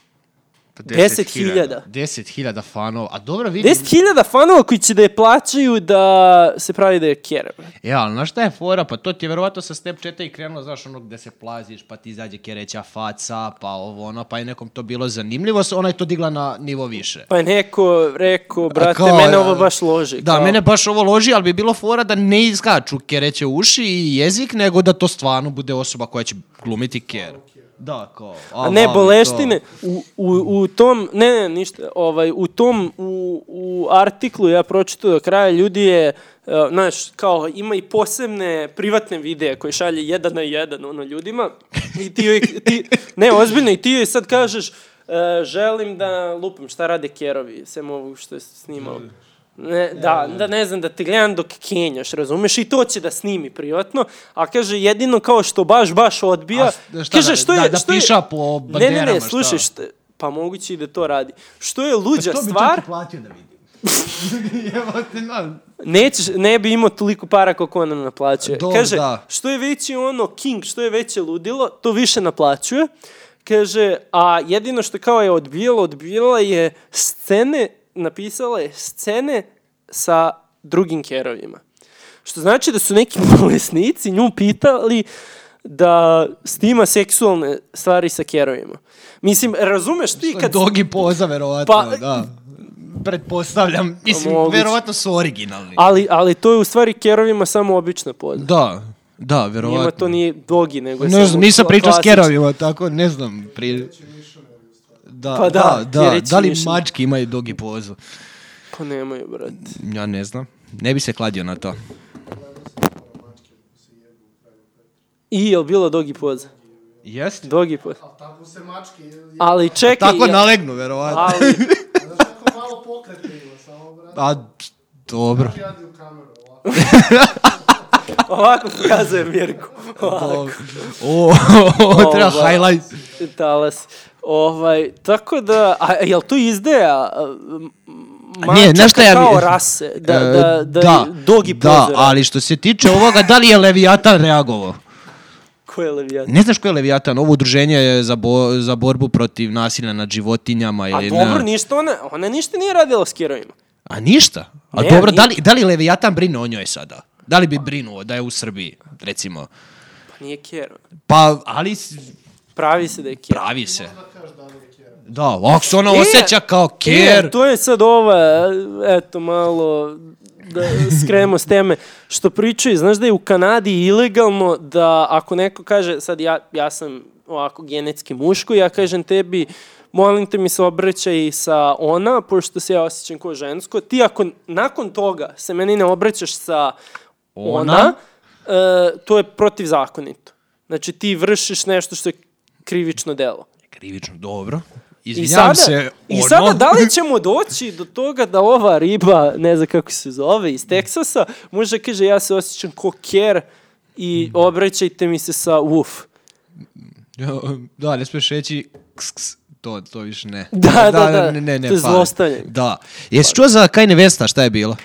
[SPEAKER 2] Pa
[SPEAKER 1] 10.000.
[SPEAKER 2] 10.000 fanova. A dobro vidi.
[SPEAKER 1] 10.000 fanova koji će da je plaćaju da se pravi da je kjera.
[SPEAKER 2] E, ali znaš šta je fora? Pa to ti je verovatno sa Snapchata i krenulo, znaš, ono gde se plaziš, pa ti izađe kereća faca, pa ovo ono, pa je nekom to bilo zanimljivo, s- ona je to digla na nivo više.
[SPEAKER 1] Pa je neko rekao, Pa, brate,
[SPEAKER 2] kao,
[SPEAKER 1] mene
[SPEAKER 2] e,
[SPEAKER 1] ovo baš loži.
[SPEAKER 2] Da,
[SPEAKER 1] kao.
[SPEAKER 2] mene baš ovo loži, ali bi bilo fora da ne iskaču kereće uši i jezik, nego da to stvarno bude osoba koja će glumiti ker. Da, kao.
[SPEAKER 1] A
[SPEAKER 2] a,
[SPEAKER 1] ne,
[SPEAKER 2] vali
[SPEAKER 1] boleštine,
[SPEAKER 2] to.
[SPEAKER 1] u, u, u tom, ne, ne, ništa, ovaj, u tom, u, u artiklu, ja pročitao do kraja, ljudi je, e, znaš, kao, ima i posebne privatne videe koje šalje jedan na jedan, ono, ljudima, i ti, joj- ti ne, ozbiljno, i ti joj sad kažeš, e, želim da lupim šta rade kerovi, sem ovog što je snimao. Ne, da, da ne znam, da te gledam dok kenjaš, razumeš? I to će da snimi privatno, a kaže jedino kao što baš, baš odbija.
[SPEAKER 2] A šta
[SPEAKER 1] kaže,
[SPEAKER 2] da-
[SPEAKER 1] što
[SPEAKER 2] da-
[SPEAKER 1] je,
[SPEAKER 2] da
[SPEAKER 1] što je,
[SPEAKER 2] piša po
[SPEAKER 1] Ne, ne,
[SPEAKER 2] banderama,
[SPEAKER 1] ne,
[SPEAKER 2] šta?
[SPEAKER 1] slušaj, šta, pa moguće i da to radi. Što je
[SPEAKER 2] Pa
[SPEAKER 1] luđa
[SPEAKER 3] To bi čak
[SPEAKER 1] stvar,
[SPEAKER 3] i platio da vidim. Evo te, no,
[SPEAKER 1] nećeš, ne bi imao toliko para koliko ona naplaćuje.
[SPEAKER 2] Dobro,
[SPEAKER 1] Kaže,
[SPEAKER 2] da.
[SPEAKER 1] što je veći ono king, što je veće ludilo, to više naplaćuje. Kaže, a jedino što kao je odbijala, odbijala je scene, napisala je scene sa drugim kerovima. Što znači da su neki bolesnici nju pitali da snima seksualne stvari sa kerovima. Mislim, razumeš ti kad...
[SPEAKER 2] Dogi poza, verovatno,
[SPEAKER 1] Pa-
[SPEAKER 2] da. Pretpostavljam, mislim,
[SPEAKER 1] Moguće.
[SPEAKER 2] verovatno su originalni.
[SPEAKER 1] Ali, ali to je u stvari kerovima samo obična poza.
[SPEAKER 2] Da, da,
[SPEAKER 1] Njima
[SPEAKER 2] verovatno.
[SPEAKER 1] to nije dogi, nego je
[SPEAKER 2] Ne
[SPEAKER 1] samo
[SPEAKER 2] znam, nisam
[SPEAKER 1] kla-
[SPEAKER 2] pričao s
[SPEAKER 1] klasični.
[SPEAKER 2] kerovima, tako ne znam. Pri... Da,
[SPEAKER 1] Pa da,
[SPEAKER 2] da,
[SPEAKER 1] jer
[SPEAKER 2] da,
[SPEAKER 1] reći
[SPEAKER 2] da li
[SPEAKER 1] mišljenje.
[SPEAKER 2] mački imaju dogi pozu?
[SPEAKER 1] Pa nemaju, brate.
[SPEAKER 2] Ja ne znam. Ne bi se kladio na to.
[SPEAKER 1] I je bilo dogi poza?
[SPEAKER 2] Jeste.
[SPEAKER 1] Dogi poza.
[SPEAKER 4] Tako se mačke, je-
[SPEAKER 1] Ali čekaj,
[SPEAKER 2] Tako
[SPEAKER 1] ja-
[SPEAKER 2] nalegnu, verovatno.
[SPEAKER 1] ali,
[SPEAKER 4] znaš kako malo pokretno ima, samo brate,
[SPEAKER 2] A, dobro.
[SPEAKER 4] radi u kameru, ovako.
[SPEAKER 1] ovako pokazuje Mirku. Ovako,
[SPEAKER 2] O, treba
[SPEAKER 1] Ovo.
[SPEAKER 2] highlight.
[SPEAKER 1] talas. Ovaj, tako da, a jel tu izdeja a, m-
[SPEAKER 2] Nije,
[SPEAKER 1] mačaka
[SPEAKER 2] znaš šta ja bi-
[SPEAKER 1] kao rase, da,
[SPEAKER 2] E,
[SPEAKER 1] da, da, dogi
[SPEAKER 2] da,
[SPEAKER 1] pozora.
[SPEAKER 2] ali što se tiče ovoga, da li je Leviatan reagovao?
[SPEAKER 1] Ko je Levijan?
[SPEAKER 2] Ne znaš ko je Leviatan, ovo udruženje je za, bo- za borbu protiv nasilja nad životinjama.
[SPEAKER 1] A
[SPEAKER 2] Ili
[SPEAKER 1] dobro,
[SPEAKER 2] ne.
[SPEAKER 1] ništa ona, ona ništa nije radila s kerovima.
[SPEAKER 2] A ništa? A
[SPEAKER 1] Ne,
[SPEAKER 2] dobro,
[SPEAKER 1] nije.
[SPEAKER 2] da li, da li Leviatan brine o njoj sada? Da li bi brinuo da je u Srbiji, recimo?
[SPEAKER 1] Pa nije kerov.
[SPEAKER 2] Pa, ali s-
[SPEAKER 1] Pravi se da je kerov.
[SPEAKER 2] pravi se. Da, ako se ona osjeća kao
[SPEAKER 1] E,
[SPEAKER 2] ker,
[SPEAKER 1] to je sad ova, eto malo, da skrenemo s teme, što pričaju, znaš da je u Kanadi ilegalno da ako neko kaže, sad ja, ja sam ovako genetski muško, ja kažem tebi, molim te mi se obraćaj sa ona, pošto se ja osjećam kao žensko, ti ako nakon toga se meni ne obraćaš sa ona,
[SPEAKER 2] Ona?
[SPEAKER 1] e, to je protivzakonito. Znači ti vršiš nešto što je krivično delo.
[SPEAKER 2] krivično, dobro.
[SPEAKER 1] I
[SPEAKER 2] Izvinjavam
[SPEAKER 1] sada,
[SPEAKER 2] se,
[SPEAKER 1] I
[SPEAKER 2] ono.
[SPEAKER 1] sada da li ćemo doći do toga da ova riba, ne znam kako se zove, iz Teksasa, može da kaže ja se osjećam ko ker i
[SPEAKER 2] Hmm.
[SPEAKER 1] obraćajte mi se sa uf.
[SPEAKER 2] Ja, Da, ne smiješ reći ks, ks, to, to više ne.
[SPEAKER 1] Da, da, da,
[SPEAKER 2] Ne, ne, ne,
[SPEAKER 1] to je
[SPEAKER 2] fali.
[SPEAKER 1] zlostavljanje.
[SPEAKER 2] Da. Jesi čuo za Kanye Westa šta je bilo?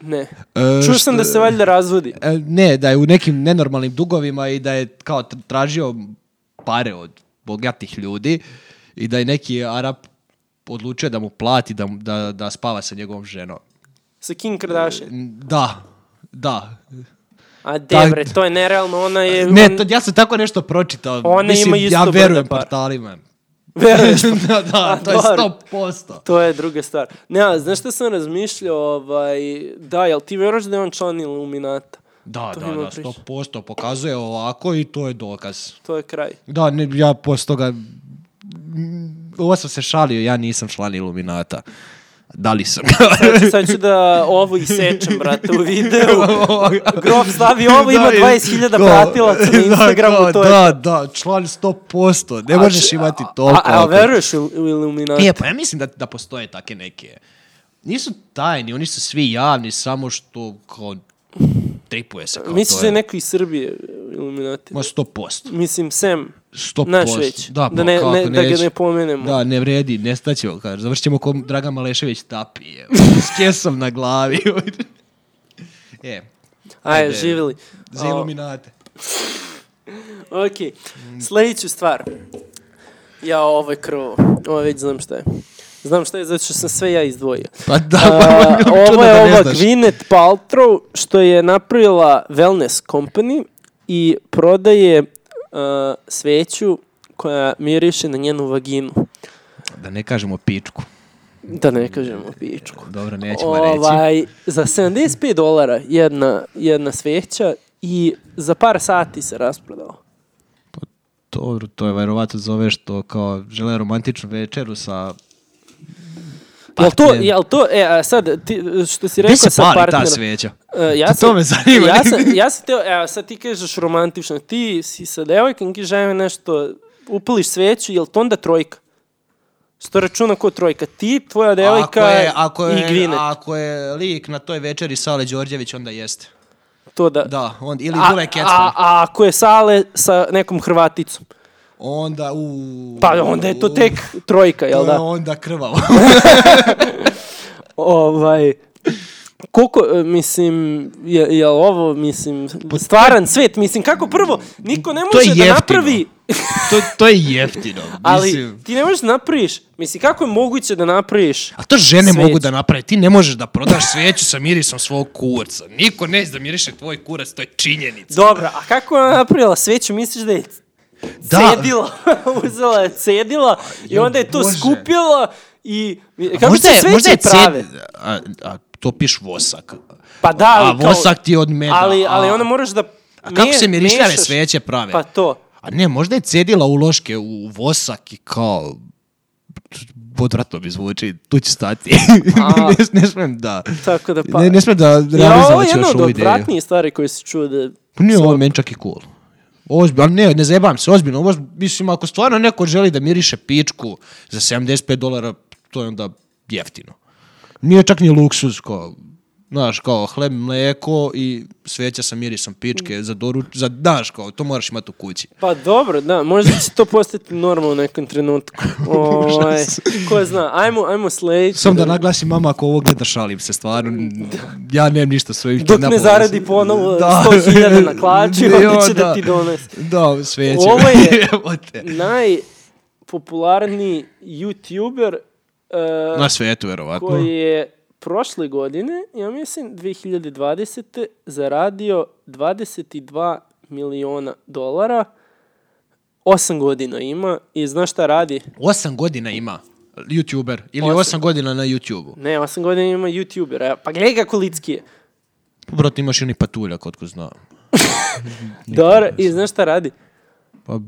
[SPEAKER 1] Ne.
[SPEAKER 2] E,
[SPEAKER 1] Čuo sam da se valjda razvodi.
[SPEAKER 2] E, ne, da je u nekim nenormalnim dugovima i da je kao tr- tražio pare od bogatih ljudi i da je neki Arab odlučio da mu plati da, mu- da, da spava sa njegovom ženom.
[SPEAKER 1] Sa Kim Kardashian.
[SPEAKER 2] Da, da.
[SPEAKER 1] A
[SPEAKER 2] Da.
[SPEAKER 1] debre, to je nerealno, ona je...
[SPEAKER 2] Ne,
[SPEAKER 1] on-
[SPEAKER 2] to, ja sam tako nešto pročitao.
[SPEAKER 1] Ona
[SPEAKER 2] Mislim,
[SPEAKER 1] ima isto
[SPEAKER 2] ja
[SPEAKER 1] brdo
[SPEAKER 2] verujem
[SPEAKER 1] para.
[SPEAKER 2] portalima.
[SPEAKER 1] Veruješ?
[SPEAKER 2] da, da,
[SPEAKER 1] A,
[SPEAKER 2] to je
[SPEAKER 1] dobro.
[SPEAKER 2] 100%.
[SPEAKER 1] To je druga stvar. Ne, a znaš šta sam razmišljao, ovaj, da, jel ti veruješ da je on član Illuminata?
[SPEAKER 2] Da,
[SPEAKER 1] To
[SPEAKER 2] da,
[SPEAKER 1] ima
[SPEAKER 2] da,
[SPEAKER 1] priče.
[SPEAKER 2] 100% pokazuje ovako i to je dokaz.
[SPEAKER 1] To je kraj.
[SPEAKER 2] Da, ne, ja posle toga... mm, Ovo sam se šalio, ja nisam član Iluminata. Da li sam?
[SPEAKER 1] Sad, sad ću da ovo isečem, brate, u videu. Grof stavi ovo, ima 20.000 pratilaca na Instagramu,
[SPEAKER 2] da,
[SPEAKER 1] to je...
[SPEAKER 2] Da, da, član 100%, ne možeš imati toliko.
[SPEAKER 1] A, a
[SPEAKER 2] ako-
[SPEAKER 1] veruješ u, u Illuminati?
[SPEAKER 2] E, pa ja mislim da, da postoje take neke. Nisu tajni, oni su svi javni, samo što kao tripuje se kao
[SPEAKER 1] Misliš
[SPEAKER 2] to
[SPEAKER 1] da je
[SPEAKER 2] je.
[SPEAKER 1] neko iz Srbije Illuminati?
[SPEAKER 2] Ma 100%.
[SPEAKER 1] Mislim, Sem,
[SPEAKER 2] 100%.
[SPEAKER 1] naš već,
[SPEAKER 2] Da,
[SPEAKER 1] da,
[SPEAKER 2] pa
[SPEAKER 1] ne,
[SPEAKER 2] kako
[SPEAKER 1] ne, da ga
[SPEAKER 2] neće.
[SPEAKER 1] ne pomenemo.
[SPEAKER 2] Da, ne vredi, nestaćemo, kaže. Završćemo ko Dragan Malešević tapi, je. s kesom na glavi. e,
[SPEAKER 1] Ajde,
[SPEAKER 2] Ajde.
[SPEAKER 1] živjeli.
[SPEAKER 2] za iluminate.
[SPEAKER 1] Ok, sljedeću stvar. Ja, ovo je krvo, ovo već znam šta je. Znam šta je, zato što sam sve ja izdvojio.
[SPEAKER 2] Pa da,
[SPEAKER 1] A,
[SPEAKER 2] pa,
[SPEAKER 1] ovo
[SPEAKER 2] čudno
[SPEAKER 1] je
[SPEAKER 2] da ne
[SPEAKER 1] ova
[SPEAKER 2] znaš.
[SPEAKER 1] Gwyneth Paltrow što je napravila wellness company i prodaje uh, sveću koja miriše na njenu vaginu.
[SPEAKER 2] Da ne kažemo pičku.
[SPEAKER 1] Da ne kažemo pičku.
[SPEAKER 2] Dobro, nećemo reći.
[SPEAKER 1] Ovaj, za 75 dolara jedna, jedna sveća i za par sati se rasprodala.
[SPEAKER 2] Dobro, to je verovatno zove što kao žele romantičnu večeru sa...
[SPEAKER 1] Jel to,
[SPEAKER 2] partnerom.
[SPEAKER 1] jel to, e, a sad, ti, što si rekao
[SPEAKER 2] Gdje se
[SPEAKER 1] sa
[SPEAKER 2] pali ta
[SPEAKER 1] partnerom-
[SPEAKER 2] sveća?
[SPEAKER 1] E, ja
[SPEAKER 2] To- to
[SPEAKER 1] sam-
[SPEAKER 2] me zanima.
[SPEAKER 1] Ja sam, ja sam teo, evo sad ti kažeš romantično, ti si sa devojkom, ki žene nešto, upališ sveću, jel to onda trojka? Sto računa ko trojka. Ti, tvoja devojka
[SPEAKER 2] ako je,
[SPEAKER 1] i Gvinet.
[SPEAKER 2] Ako je lik na toj večeri Sale Đorđević, onda jeste.
[SPEAKER 1] to da,
[SPEAKER 2] Da, on, ili
[SPEAKER 1] a,
[SPEAKER 2] Dule
[SPEAKER 1] a,
[SPEAKER 2] Kecman.
[SPEAKER 1] a ako je Sale sa nekom Hrvaticom,
[SPEAKER 2] Onda, u...
[SPEAKER 1] pa onda je to tek trojka,
[SPEAKER 2] To
[SPEAKER 1] jel
[SPEAKER 2] je
[SPEAKER 1] da?
[SPEAKER 2] onda krvavo.
[SPEAKER 1] Ovaj, koliko, e, mislim, je, je ovo, mislim, stvaran svet, mislim, kako prvo, niko ne
[SPEAKER 2] To je
[SPEAKER 1] može da
[SPEAKER 2] jeftino.
[SPEAKER 1] napravi,
[SPEAKER 2] to, to je jeftino.
[SPEAKER 1] ali
[SPEAKER 2] mislim.
[SPEAKER 1] ti ne možeš da napraviš, mislim, kako je moguće da napraviš
[SPEAKER 2] A to žene
[SPEAKER 1] Sveć.
[SPEAKER 2] mogu da naprave. Ti ne možeš da prodaš svijeću sa mirisom svog kurca. Niko ne zna da miriše tvoj kurac, to je činjenica.
[SPEAKER 1] Dobro, a kako je ona napravila sveću, misliš da je
[SPEAKER 2] Da.
[SPEAKER 1] cedila, uzela je cedila i onda je to
[SPEAKER 2] Bože.
[SPEAKER 1] skupila i kako se
[SPEAKER 2] je-
[SPEAKER 1] sveće
[SPEAKER 2] je ced-
[SPEAKER 1] prave?
[SPEAKER 2] A, a to piš vosak.
[SPEAKER 1] Pa da,
[SPEAKER 2] a
[SPEAKER 1] ali kao-
[SPEAKER 2] vosak ti je od meda.
[SPEAKER 1] Ali, ali
[SPEAKER 2] a-
[SPEAKER 1] onda moraš da
[SPEAKER 2] A kako
[SPEAKER 1] me-
[SPEAKER 2] se mirišljave
[SPEAKER 1] mešaš-
[SPEAKER 2] sveće prave?
[SPEAKER 1] Pa to.
[SPEAKER 2] A ne, možda je cedila uloške u vosak i kao odvratno mi zvuči, tu ću stati.
[SPEAKER 1] A.
[SPEAKER 2] ne, ne smem da...
[SPEAKER 1] Tako da pa...
[SPEAKER 2] Ne, ne smem da
[SPEAKER 1] ja, ovo
[SPEAKER 2] realizovat
[SPEAKER 1] je
[SPEAKER 2] ću
[SPEAKER 1] jedna
[SPEAKER 2] još
[SPEAKER 1] od
[SPEAKER 2] ovu ideju.
[SPEAKER 1] odvratnijih stvari koje si čuo da...
[SPEAKER 2] Pa nije ovo meni čak i cool. Ozbiljno, ali ne, ne zajebam se, ozbiljno. Možda, mislim, ako stvarno neko želi da miriše pičku za 75 dolara, to je onda jeftino. Nije čak ni luksuz, kao, znaš, kao hleb, mleko i sveća sa mirisom pičke za doruč, za, znaš, kao, to moraš imati u kući.
[SPEAKER 1] Pa dobro, da, možda će to postati normalno u nekom trenutku. Ovaj, ko zna, ajmo, ajmo sledeći.
[SPEAKER 2] Samo da naglasim, mama, ako ovo gleda, šalim se, stvarno, ja nemam ništa svojim
[SPEAKER 1] Dok ne zaradi ponovo 100.000 na klači, onda će da ti donese.
[SPEAKER 2] Da, sveće.
[SPEAKER 1] Ovo je-
[SPEAKER 2] Jebote.
[SPEAKER 1] najpopularniji youtuber eh,
[SPEAKER 2] Na svetu, verovatno.
[SPEAKER 1] koji je prošle godine, ja mislim 2020. zaradio 22 miliona dolara. 8 godina ima i znaš šta radi?
[SPEAKER 2] Osam godina ima youtuber ili
[SPEAKER 1] Osam.
[SPEAKER 2] osam, godina na YouTubeu.
[SPEAKER 1] Ne, 8 godina ima youtubera. Pa gledaj kako litski je.
[SPEAKER 2] Brate, imaš i oni patulja, kotko zna.
[SPEAKER 1] Dobro, i znaš šta radi?
[SPEAKER 2] Pa,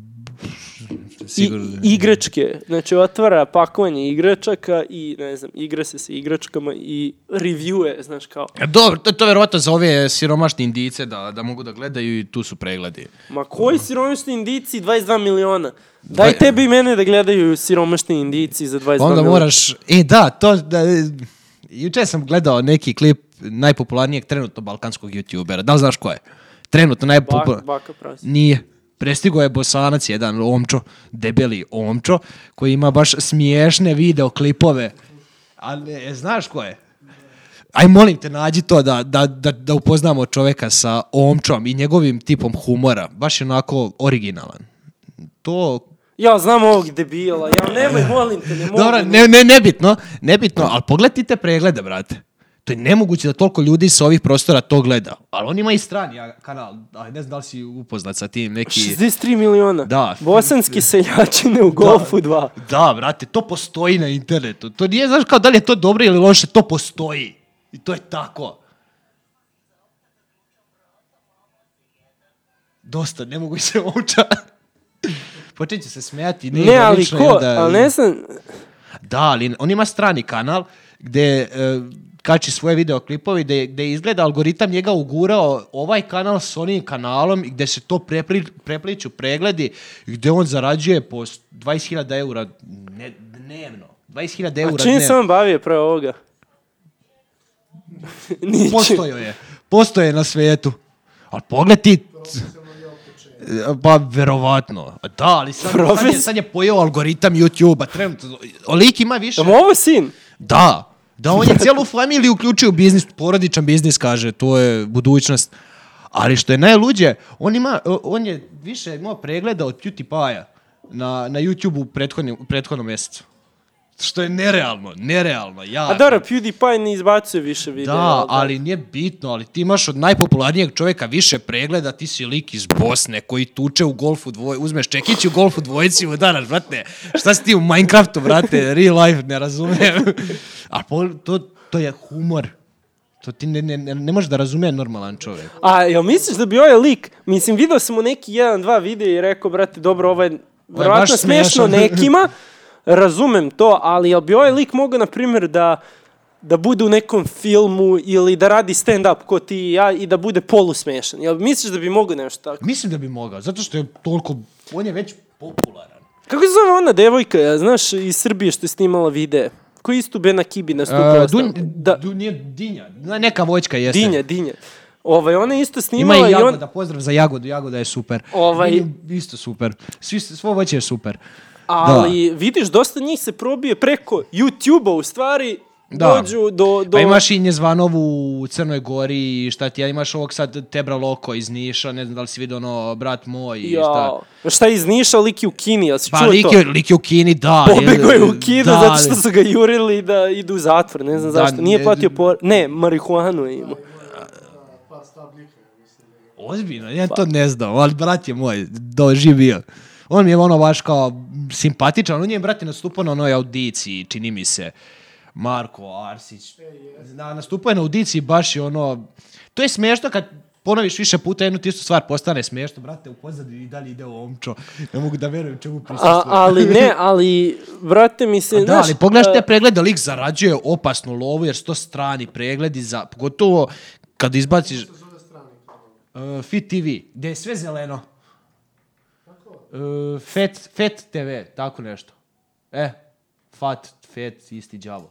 [SPEAKER 1] I,
[SPEAKER 2] sigurno.
[SPEAKER 1] igračke. Znači, otvara pakovanje igračaka i, ne znam, igra se sa igračkama i reviewuje, znaš, kao,
[SPEAKER 2] E, Dobro, to, to je verovatno za ove siromašne indice da, da mogu da gledaju i tu su pregledi.
[SPEAKER 1] Ma koji siromašni indici 22 miliona? Daj tebi i mene da gledaju siromašni indici za 22
[SPEAKER 2] Pa
[SPEAKER 1] miliona.
[SPEAKER 2] onda moraš, e da, to, da, juče sam gledao neki klip najpopularnijeg trenutno balkanskog youtubera, da li znaš ko je? Trenutno
[SPEAKER 1] Bak,
[SPEAKER 2] najpopularniji.
[SPEAKER 1] baka prasi.
[SPEAKER 2] Nije. Prestigo je bosanac, jedan omčo, debeli omčo, koji ima baš smiješne videoklipove. A ne, znaš ko je? Aj, molim te, nađi to da, da, da, da upoznamo čoveka sa omčom i njegovim tipom humora. Baš je onako originalan. To...
[SPEAKER 1] Ja znam ovog debila, ja nemoj, molim te, ne mogu.
[SPEAKER 2] Dobro, ne, ne, nebitno, nebitno, ali pogledajte preglede, brate. To je nemoguće da toliko ljudi sa ovih prostora to gleda. Ali on ima i strani a, kanal, ali ne znam da li si upoznat sa tim neki...
[SPEAKER 1] 63 miliona.
[SPEAKER 2] Da.
[SPEAKER 1] Bosanski seljačine u golfu 2.
[SPEAKER 2] Da, brate, to postoji na internetu. To nije, znaš kao da li je to dobro ili loše, to postoji. I to je tako. Dosta, ne mogu se oča. Počet ću se smijati. nije
[SPEAKER 1] Ne, ali
[SPEAKER 2] ironično i
[SPEAKER 1] ko,
[SPEAKER 2] onda-
[SPEAKER 1] ali ne znam,
[SPEAKER 2] Da, ali on ima strani kanal gde e, kači svoje videoklipovi, gde, gde izgleda algoritam njega ugurao ovaj kanal s onim kanalom i gde se to prepli, prepliču pregledi gde on zarađuje po 20.000 eura ne, dnevno. 20.000 eura
[SPEAKER 1] a čim
[SPEAKER 2] dnevno.
[SPEAKER 1] se on bavio pre ovoga? Ničim.
[SPEAKER 2] Postojo je. Postoje na svetu. Ali pogled ti... Pa, verovatno. Da, ali sad, sad, je,
[SPEAKER 1] Profes-
[SPEAKER 2] sad je pojeo algoritam YouTube-a. Trenutno, lik ima više.
[SPEAKER 1] Da mu ovo sin?
[SPEAKER 2] Da, da on je cijelu familiju uključio u biznis, porodičan biznis kaže, to je budućnost. Ali što je najluđe, on, ima, o- on je više imao pregleda od PewDiePie-a na, na YouTube-u u prethodnim- u prethodnom mjesecu. Što je nerealno, nerealno, ja.
[SPEAKER 1] A dobro, PewDiePie ne izbacuje više videa.
[SPEAKER 2] Da, ali nije bitno, ali ti imaš od najpopularnijeg čovjeka više pregleda, ti si lik iz Bosne koji tuče u golfu dvoje, uzmeš čekić u golfu dvojici u danas, brate, šta si ti u Minecraftu, brate, real life, ne razumijem. A pol- to, to je humor. To ti ne, ne, ne, ne možeš da razumije normalan čovjek.
[SPEAKER 1] A jel misliš da bi ovaj lik, mislim video sam mu neki jedan, dva videa i rekao, brate, dobro, ovo je vjerojatno
[SPEAKER 2] baš
[SPEAKER 1] smiješno
[SPEAKER 2] smiješan.
[SPEAKER 1] nekima, razumem to, ali jel bi ovaj lik mogao, na primjer, da, da bude u nekom filmu ili da radi stand-up ko ti i ja i da bude polusmiješan? Jel misliš da bi mogao nešto tako?
[SPEAKER 2] Mislim da bi mogao, zato što je toliko, on je već popularan.
[SPEAKER 1] Kako se zove ona devojka, ja, znaš, iz Srbije što je snimala videe? Koji isto Bena Kibi nastupala?
[SPEAKER 2] Uh, Dun,
[SPEAKER 1] stalno? da,
[SPEAKER 2] du, nije Dinja. Na- Neka voćka jeste.
[SPEAKER 1] Dinja, Dinja. Ovaj, ona je isto
[SPEAKER 2] Ima
[SPEAKER 1] snimala
[SPEAKER 2] i
[SPEAKER 1] i,
[SPEAKER 2] Jagoda,
[SPEAKER 1] on...
[SPEAKER 2] pozdrav za Jagodu, Jagoda je super.
[SPEAKER 1] Ovaj-
[SPEAKER 2] Dinja je Isto super. Svi, svo voće je super.
[SPEAKER 1] Ali vidiš, dosta njih se probije preko YouTube-a u stvari,
[SPEAKER 2] Da.
[SPEAKER 1] dođu do... do...
[SPEAKER 2] Pa imaš i Njezvanovu u Crnoj Gori i šta ti, ja imaš ovog sad Tebra Loko iz Niša, ne znam da li si vidio ono, brat moj i šta.
[SPEAKER 1] Jao. Šta je iz Niša, lik je u Kini, jel si
[SPEAKER 2] Pa
[SPEAKER 1] čuo
[SPEAKER 2] lik
[SPEAKER 1] to?
[SPEAKER 2] je, lik je u Kini, da.
[SPEAKER 1] Pobego je u
[SPEAKER 2] ili-
[SPEAKER 1] Kinu
[SPEAKER 2] da,
[SPEAKER 1] zato što su ga jurili da idu u zatvor, ne znam
[SPEAKER 2] Da,
[SPEAKER 1] zašto. Nije
[SPEAKER 2] ne-
[SPEAKER 1] platio por... Ne, marihuanu je imao.
[SPEAKER 4] Pa stabljika, ja mislim.
[SPEAKER 2] Ozbiljno, ja
[SPEAKER 1] Pa.
[SPEAKER 2] to ne znam, ali brat je moj, doživio. On mi je ono baš kao simpatičan, on je brat je nastupao na onoj audiciji, čini mi se. Marko Arsić. Na, nastupao je na audiciji baš je ono... To je smiješno kad ponoviš više puta jednu tistu stvar postane smiješno, brate, u pozadini i dalje ide ovo omčo. Ne mogu da verujem čemu prisustvuje.
[SPEAKER 1] A, ali ne, ali, brate mi se,
[SPEAKER 2] Da,
[SPEAKER 1] znaš,
[SPEAKER 2] ali pogledaš
[SPEAKER 1] a,
[SPEAKER 2] te preglede, lik zarađuje opasnu lovu jer su to strani pregledi za, pogotovo kad izbaciš... Uh, Fit TV, gdje je sve zeleno. Uh, Fet, Fet TV, tako nešto. E, Fat, Fet, isti đavo.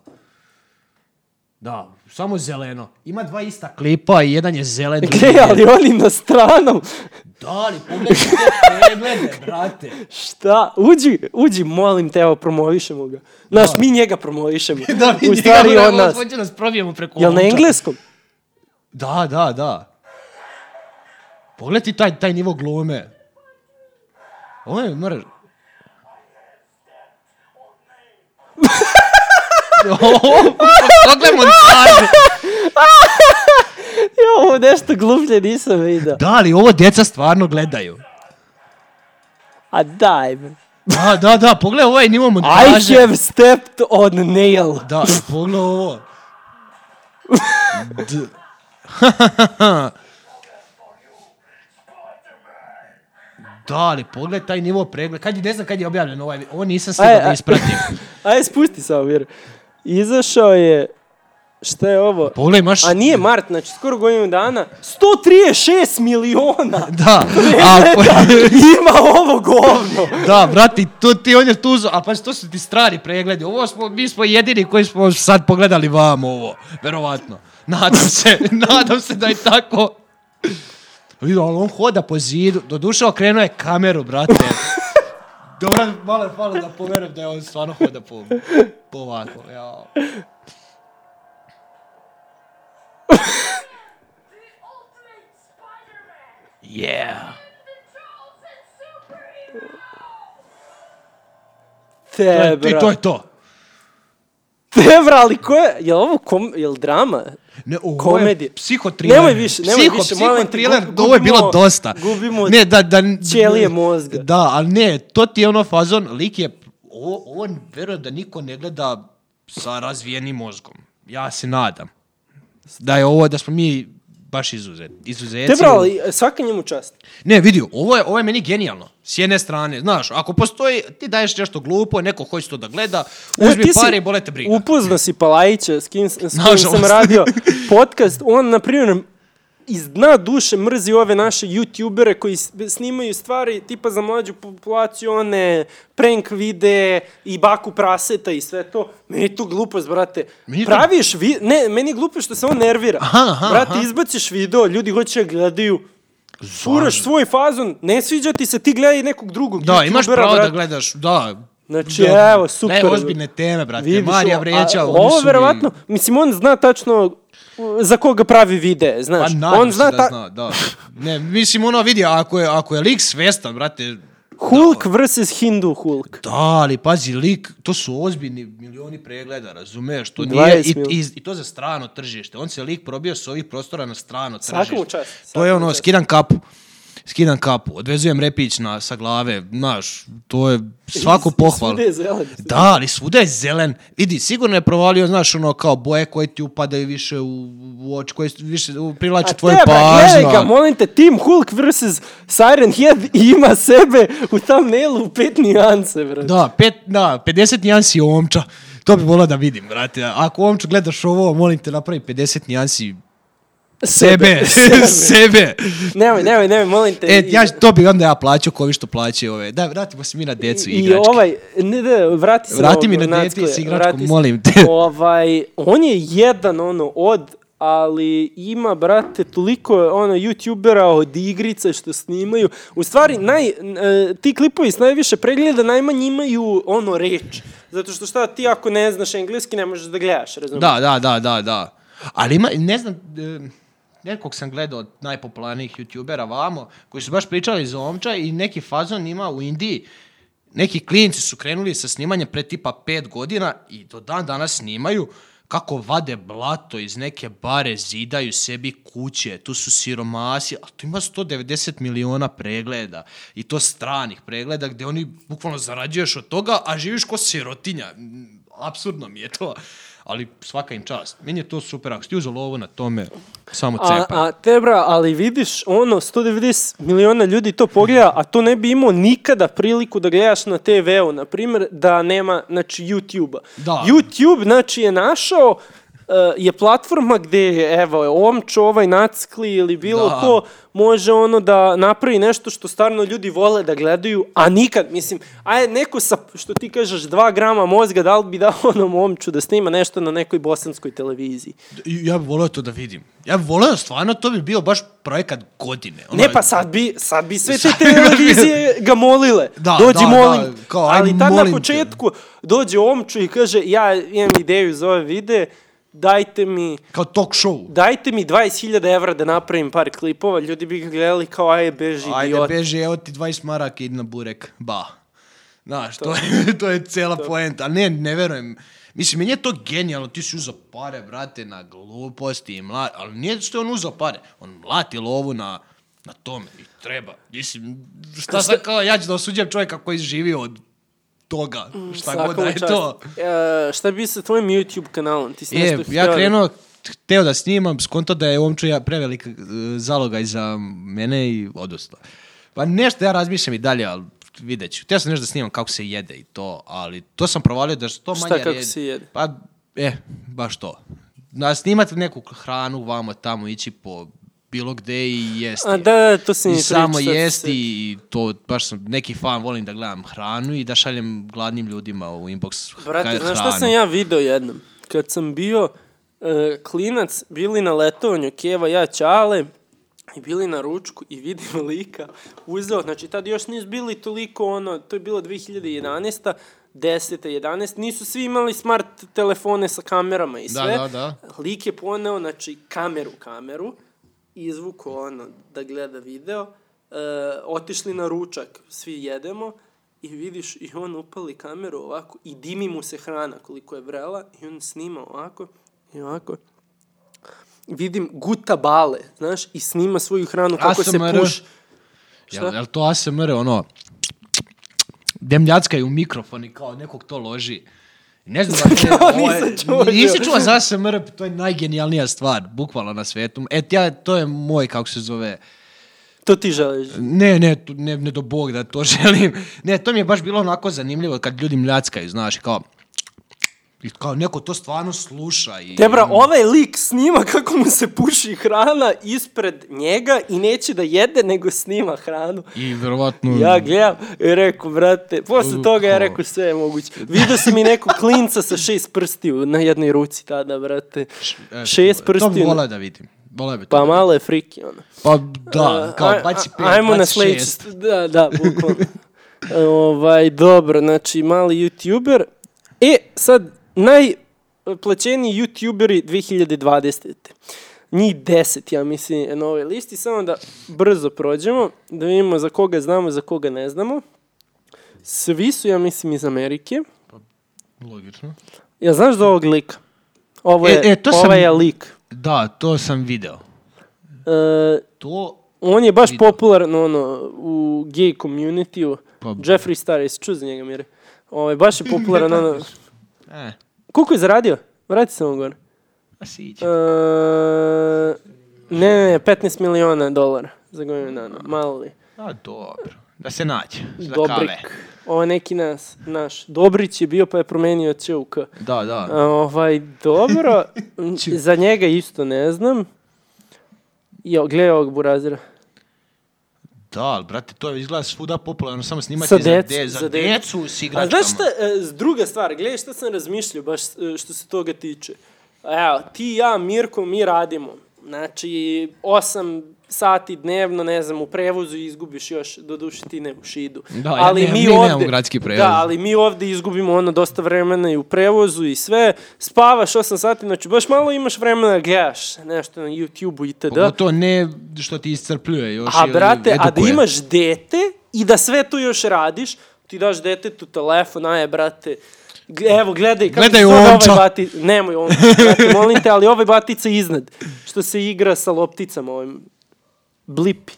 [SPEAKER 2] Da, samo zeleno. Ima dva ista klipa i jedan je zelen. drugi je
[SPEAKER 1] Gle, ali oni na stranom,
[SPEAKER 2] Da, ali pogledaj te preglede, brate.
[SPEAKER 1] šta, uđi, uđi, molim te, evo, promovišemo ga. Znaš, mi njega promovišemo.
[SPEAKER 2] Da, mi
[SPEAKER 1] u stvari
[SPEAKER 2] njega,
[SPEAKER 1] on nas.
[SPEAKER 2] Hoće nas probijemo preko
[SPEAKER 1] Jel na
[SPEAKER 2] omča.
[SPEAKER 1] engleskom?
[SPEAKER 2] Da, da, da. Pogledaj ti taj, taj nivo glume. Ovo je, moraš... Pogledaj montažu.
[SPEAKER 1] Ja ovo nešto gluplje nisam vidio.
[SPEAKER 2] Da, ali ovo djeca stvarno gledaju.
[SPEAKER 1] A daj me.
[SPEAKER 2] Da, da, da, pogledaj ovaj nivo
[SPEAKER 1] I
[SPEAKER 2] montaže.
[SPEAKER 1] have stepped on nail.
[SPEAKER 2] Da, pogledaj ovo. D. da, ali pogledaj taj nivo pregleda. Kad je, ne znam kad je objavljen ovaj, ovo nisam
[SPEAKER 1] Aj,
[SPEAKER 2] stigao da
[SPEAKER 1] aj.
[SPEAKER 2] ispratim.
[SPEAKER 1] Ajde, spusti samo, Vjero. Izašao je... Šta je ovo?
[SPEAKER 2] Pogledaj, imaš...
[SPEAKER 1] A nije mart, znači skoro godinu dana. 136 miliona!
[SPEAKER 2] Da, a,
[SPEAKER 1] Ima ovo govno!
[SPEAKER 2] da, brati, tu ti on je tu, uzeo- a pa to su ti strani pregledi. Ovo smo, mi smo jedini koji smo sad pogledali vam ovo, verovatno. Nadam se, nadam se da je tako. Vidi, ali on hoda po zidu, doduše okrenuo je kameru, brate. Dobro, malo je falo da poverujem da je on stvarno hoda po, po ovako, jao. Yeah. To
[SPEAKER 1] Te,
[SPEAKER 2] je, ti,
[SPEAKER 1] bra.
[SPEAKER 2] to je to.
[SPEAKER 1] Te, bra, ali ko je... Jel ovo kom... Jel drama?
[SPEAKER 2] Ne, ovo
[SPEAKER 1] Komedije.
[SPEAKER 2] je psihotriler.
[SPEAKER 1] Nemoj više, nemoj
[SPEAKER 2] Psiho-
[SPEAKER 1] više, molim te,
[SPEAKER 2] psihotriler,
[SPEAKER 1] gub-
[SPEAKER 2] ovo je bilo
[SPEAKER 1] gubimo-
[SPEAKER 2] dosta.
[SPEAKER 1] gubimo
[SPEAKER 2] ne, da, da,
[SPEAKER 1] ćelije mozga.
[SPEAKER 2] Da, ali ne, to ti je ono fazon, lik je, ovo, ovo verujem da niko ne gleda sa razvijenim mozgom. Ja se nadam. Da je ovo, da smo mi baš izuzet,
[SPEAKER 1] Te,
[SPEAKER 2] izuzeci.
[SPEAKER 1] bra, ali e, svaka njemu čast.
[SPEAKER 2] Ne, vidi, ovo je, ovo je meni genijalno. S jedne strane, znaš, ako postoji, ti daješ nešto glupo, neko hoće to da gleda, uzmi
[SPEAKER 1] E, Ti si-
[SPEAKER 2] pare i bolete briga.
[SPEAKER 1] Upoznao si Palajića s kim, s kim sam
[SPEAKER 2] Nažalost.
[SPEAKER 1] radio podcast. On, na primjer, iz dna duše mrzi ove naše youtubere koji s- snimaju stvari tipa za mlađu populaciju, one prank videe i baku praseta i sve to. Meni je to glupost, brate.
[SPEAKER 2] Meni je to-
[SPEAKER 1] Praviš vi... Ne, meni je glupo što se on nervira.
[SPEAKER 2] Aha, aha,
[SPEAKER 1] brate,
[SPEAKER 2] aha.
[SPEAKER 1] izbaciš video, ljudi hoće da gledaju. Furaš svoj fazon, ne sviđa ti se, ti gledaj nekog drugog
[SPEAKER 2] Da, imaš
[SPEAKER 1] youtubera,
[SPEAKER 2] pravo da
[SPEAKER 1] brate.
[SPEAKER 2] gledaš, da.
[SPEAKER 1] Znači,
[SPEAKER 2] Da,
[SPEAKER 1] evo, super.
[SPEAKER 2] Da, ozbiljne teme, brate.
[SPEAKER 1] Vidiš,
[SPEAKER 2] Marija
[SPEAKER 1] o- a-
[SPEAKER 2] Vreća, oni
[SPEAKER 1] Ovo
[SPEAKER 2] su mi-
[SPEAKER 1] verovatno, mislim, on zna tačno uh, za koga pravi vide,
[SPEAKER 2] Pa
[SPEAKER 1] znaš.
[SPEAKER 2] nadam
[SPEAKER 1] Znači, on
[SPEAKER 2] se
[SPEAKER 1] zna
[SPEAKER 2] da
[SPEAKER 1] ta-
[SPEAKER 2] zna, da. Ne, mislim, ono, vidi, ako je, ako je lik svestan, brate,
[SPEAKER 1] Hulk vs. Hindu Hulk.
[SPEAKER 2] da, ali pazi, lik, to su ozbiljni milioni pregleda, razumeš? To nije,
[SPEAKER 1] 20
[SPEAKER 2] i, i,
[SPEAKER 1] miliona.
[SPEAKER 2] I to za strano tržište. On se lik probio s ovih prostora na strano
[SPEAKER 1] Svaka
[SPEAKER 2] tržište.
[SPEAKER 1] mu čast,
[SPEAKER 2] To
[SPEAKER 1] svaka
[SPEAKER 2] je
[SPEAKER 1] mu
[SPEAKER 2] ono,
[SPEAKER 1] čast.
[SPEAKER 2] skidam kapu. Skidam kapu, odvezujem repić na, sa glave, znaš, to je svako pohval.
[SPEAKER 1] Svuda je zelen.
[SPEAKER 2] Da, ali svuda je zelen. Vidi, sigurno je provalio, znaš, ono kao boje koje ti upadaju više u, u oči, koje više u- privlače
[SPEAKER 1] A
[SPEAKER 2] tvoju
[SPEAKER 1] tebe,
[SPEAKER 2] pažnju.
[SPEAKER 1] gledaj ga, molim te, Team Hulk vs. Siren Head ima sebe u thumbnailu u pet nijanse, brate.
[SPEAKER 2] Da, pet, da, 50 nijansi omča. To bi volao da vidim, brate. Ako omču gledaš ovo, molim te napravi 50 nijansi Sebe, sebe.
[SPEAKER 1] Nemoj, nemoj, nemoj, molim te.
[SPEAKER 2] E, ja, to bi onda ja plaćao kovi što plaćaju ove. Da, vratimo se mi na decu i
[SPEAKER 1] I
[SPEAKER 2] igračke.
[SPEAKER 1] ovaj, ne, ne, vrati se
[SPEAKER 2] Vrati
[SPEAKER 1] na
[SPEAKER 2] mi na
[SPEAKER 1] ovog
[SPEAKER 2] dete
[SPEAKER 1] Nacka,
[SPEAKER 2] s igračkom,
[SPEAKER 1] vrati se.
[SPEAKER 2] molim te.
[SPEAKER 1] Ovaj, on je jedan, ono, od, ali ima, brate, toliko, ono, youtubera od igrice što snimaju. U stvari, naj, n- e, ti klipovi s najviše pregleda najmanje imaju, ono, reč. Zato što šta, ti ako ne znaš engleski ne možeš da gledaš, razumiješ?
[SPEAKER 2] Da, da, da, da, da. Ali ima, ne znam, e, nekog sam gledao od najpopularnijih youtubera vamo, koji su baš pričali za omča i neki fazon ima u Indiji. Neki klinci su krenuli sa snimanjem pre tipa pet godina i do dan danas snimaju kako vade blato iz neke bare, zidaju sebi kuće, tu su siromasi, a tu ima 190 miliona pregleda i to stranih pregleda gdje oni bukvalno zarađuješ od toga, a živiš ko sirotinja. Mm, Apsurdno mi je to, ali svaka im čast. Meni je to super, ako ste uzeli ovo na tome, samo
[SPEAKER 1] A,
[SPEAKER 2] cepa.
[SPEAKER 1] a te bra, ali vidiš, ono, 190 miliona ljudi to pogleda, a to ne bi imao nikada priliku da gledaš na TV-u, na primjer, da nema, znači, YouTube-a.
[SPEAKER 2] Da.
[SPEAKER 1] YouTube, znači, je našao, e, je platforma gde, evo, omčo, ovaj nackli ili bilo
[SPEAKER 2] Da.
[SPEAKER 1] ko, može ono da napravi nešto što stvarno ljudi vole da gledaju, a nikad, mislim, a je neko sa, što ti kažeš, dva grama mozga, da li bi dao onom omču da snima nešto na nekoj bosanskoj televiziji?
[SPEAKER 2] Ja bih volio to da vidim. Ja bih volio, stvarno, to bi bio baš projekat godine. Ono,
[SPEAKER 1] Ne, pa sad bi, sad bi sve te
[SPEAKER 2] Sad bi
[SPEAKER 1] televizije ga molile.
[SPEAKER 2] Da,
[SPEAKER 1] dođi,
[SPEAKER 2] da,
[SPEAKER 1] molim.
[SPEAKER 2] da, kao, aj,
[SPEAKER 1] ali tad na
[SPEAKER 2] molim te.
[SPEAKER 1] početku dođe omču i kaže, ja imam ideju za ove vide, dajte mi,
[SPEAKER 2] Kao talk show.
[SPEAKER 1] dajte mi 20.000 evra da napravim par klipova, ljudi bi ga gledali kao, aj, beži,
[SPEAKER 2] Ajde,
[SPEAKER 1] idiot.
[SPEAKER 2] beži, evo ti 20 maraka, idi na burek. Ba. Znaš, to, je, to je cela poenta. Ali ne, ne verujem. Mislim, meni je to genijalno, ti si uzao pare, brate, na gluposti i mla... Ali nije što je on uzao pare, on mlati lovu na, na tome i treba. Mislim, šta sad kao, ja ću da osuđujem čovjeka koji živi od toga, šta god
[SPEAKER 1] Svaka
[SPEAKER 2] da
[SPEAKER 1] Mm, mu
[SPEAKER 2] je
[SPEAKER 1] čast.
[SPEAKER 2] to.
[SPEAKER 1] E, šta bi sa tvojim YouTube kanalom? Ti si
[SPEAKER 2] E,
[SPEAKER 1] nešto ono- htio
[SPEAKER 2] ja
[SPEAKER 1] da-
[SPEAKER 2] krenuo, hteo da snimam, skonto da je omču ja prevelik e, zalogaj za mene i odustao. Pa nešto ja razmišljam i dalje, ali vidjet ću. Htio sam nešto da snimam kako se jede i to, ali to sam provalio da što manje
[SPEAKER 1] Šta, kako
[SPEAKER 2] red-
[SPEAKER 1] se jede?
[SPEAKER 2] Pa, e, baš to. Na, snimati neku hranu, vamo, tamo, ići po bilo gde i jesti.
[SPEAKER 1] A, da, da, to si mi
[SPEAKER 2] I samo
[SPEAKER 1] pričao, sad se
[SPEAKER 2] jesti i to, baš sam neki fan, volim da gledam hranu i da šaljem gladnim ljudima u inbox
[SPEAKER 1] Brate,
[SPEAKER 2] hranu.
[SPEAKER 1] znaš šta sam ja video jednom? Kad sam bio e, klinac, bili na letovanju Keva, ja, Ćale, i bili na ručku i vidim lika, uzeo, znači tad još nisu bili toliko ono, to je bilo 2011. 10. 11. Nisu svi imali smart telefone sa kamerama i
[SPEAKER 2] Da,
[SPEAKER 1] sve.
[SPEAKER 2] da, da.
[SPEAKER 1] Lik je poneo, znači, kameru, kameru, izvuko ono, da gleda video, e, otišli na ručak, svi jedemo, i vidiš, i on upali kameru ovako, i dimi mu se hrana koliko je vrela, i on snima ovako, i ovako, vidim guta bale, znaš, i snima svoju hranu kako se
[SPEAKER 2] ASMR.
[SPEAKER 1] puši. Šta?
[SPEAKER 2] Jel, jel to ASMR ono... Demljacka je u mikrofon i kao nekog to loži. Ne znam da
[SPEAKER 1] Kao
[SPEAKER 2] te...
[SPEAKER 1] nisam čuo.
[SPEAKER 2] Nisi čuo za ASMR, to je najgenijalnija stvar, bukvalno na svetu. E, ja, to je moj, kako se zove...
[SPEAKER 1] To ti želiš.
[SPEAKER 2] Ne, ne, tu- ne, ne do bog da to želim. Ne, to mi je baš bilo onako zanimljivo kad ljudi mljackaju, znaš, i kao... I kao neko to stvarno sluša i...
[SPEAKER 1] Debra, ovaj lik snima kako mu se puši hrana ispred njega i neće da jede, nego snima hranu.
[SPEAKER 2] I verovatno...
[SPEAKER 1] Ja gledam i rekao, brate, posle toga ja rekao sve je moguće. Vidio sam i nekog klinca sa šest prstiju na jednoj ruci tada, brate.
[SPEAKER 2] e,
[SPEAKER 1] Šest
[SPEAKER 2] To bi
[SPEAKER 1] prstiju.
[SPEAKER 2] volao da vidim. Volao bi to
[SPEAKER 1] Pa
[SPEAKER 2] da
[SPEAKER 1] malo je friki, ono.
[SPEAKER 2] Pa
[SPEAKER 1] A,
[SPEAKER 2] da, kao
[SPEAKER 1] a-
[SPEAKER 2] baci
[SPEAKER 1] a-
[SPEAKER 2] pet,
[SPEAKER 1] Ajmo na
[SPEAKER 2] baci
[SPEAKER 1] sledeći.
[SPEAKER 2] šest.
[SPEAKER 1] st- Da, da, bukvalno. E, ovaj, dobro, znači mali youtuber. E, sad, najplaćeniji youtuberi 2020. Njih 10, ja mislim, je na ovoj listi. Samo da brzo prođemo, da vidimo za koga znamo, za koga ne znamo. Svi su, ja mislim, iz Amerike.
[SPEAKER 2] Logično.
[SPEAKER 1] Ja znaš za ovog lika? Ovo
[SPEAKER 2] E,
[SPEAKER 1] je,
[SPEAKER 2] e, to sam-
[SPEAKER 1] ovaj je lik.
[SPEAKER 2] Da, to sam video.
[SPEAKER 1] E,
[SPEAKER 2] To...
[SPEAKER 1] On je baš
[SPEAKER 2] Vidio.
[SPEAKER 1] popularan ono, u gay community-u.
[SPEAKER 2] Pa-
[SPEAKER 1] Jeffree Star, jesi čuo za njega, Mire? Ovaj, baš je popularan ono...
[SPEAKER 2] E,
[SPEAKER 1] Koliko je zaradio? Vrati se mu gore.
[SPEAKER 2] a siđe.
[SPEAKER 1] E, ne, ne, 15 miliona dolara za godinu dana. Malo li?
[SPEAKER 2] A dobro. Da se nađe. Za kave.
[SPEAKER 1] Dobrik. Ovo je neki nas, naš. Dobrić je bio pa je promenio E, Č u K.
[SPEAKER 2] Da, da.
[SPEAKER 1] A, ovaj, dobro, m, za njega isto ne znam. Jo, gle ovog burazira.
[SPEAKER 2] Da, ali brate, to je izgleda svuda popularno, samo snimati
[SPEAKER 1] Sa
[SPEAKER 2] za,
[SPEAKER 1] dec-
[SPEAKER 2] de- za,
[SPEAKER 1] za de-
[SPEAKER 2] decu s
[SPEAKER 1] A
[SPEAKER 2] igračkama.
[SPEAKER 1] znaš šta, e, s druga stvar, gledaj šta sam razmišljao baš e, što se toga tiče. Evo, ti i ja, Mirko, mi radimo. Znači, osam sati dnevno, ne znam, u prevozu i izgubiš još, doduše ti ne u šidu.
[SPEAKER 2] Da, ja nemam- mi nemamo gradski prevoz.
[SPEAKER 1] Da, ali mi ovde izgubimo ono dosta vremena i u prevozu i sve. Spavaš 8 sati, znači baš malo imaš vremena da gledaš nešto na YouTube-u itd.
[SPEAKER 2] Pogotovo ne što ti iscrpljuje još
[SPEAKER 1] A
[SPEAKER 2] i ono
[SPEAKER 1] brate, a da
[SPEAKER 2] Znači, edukuje.
[SPEAKER 1] imaš dete i da sve to još radiš, ti daš detetu telefon, aje brate, g- evo gledaj kako
[SPEAKER 2] Gledaj
[SPEAKER 1] se zove
[SPEAKER 2] omča.
[SPEAKER 1] ovaj bati, nemoj omča, brate, molim te, ali ovaj batica iznad, što se igra sa lopticama ovim, blipi,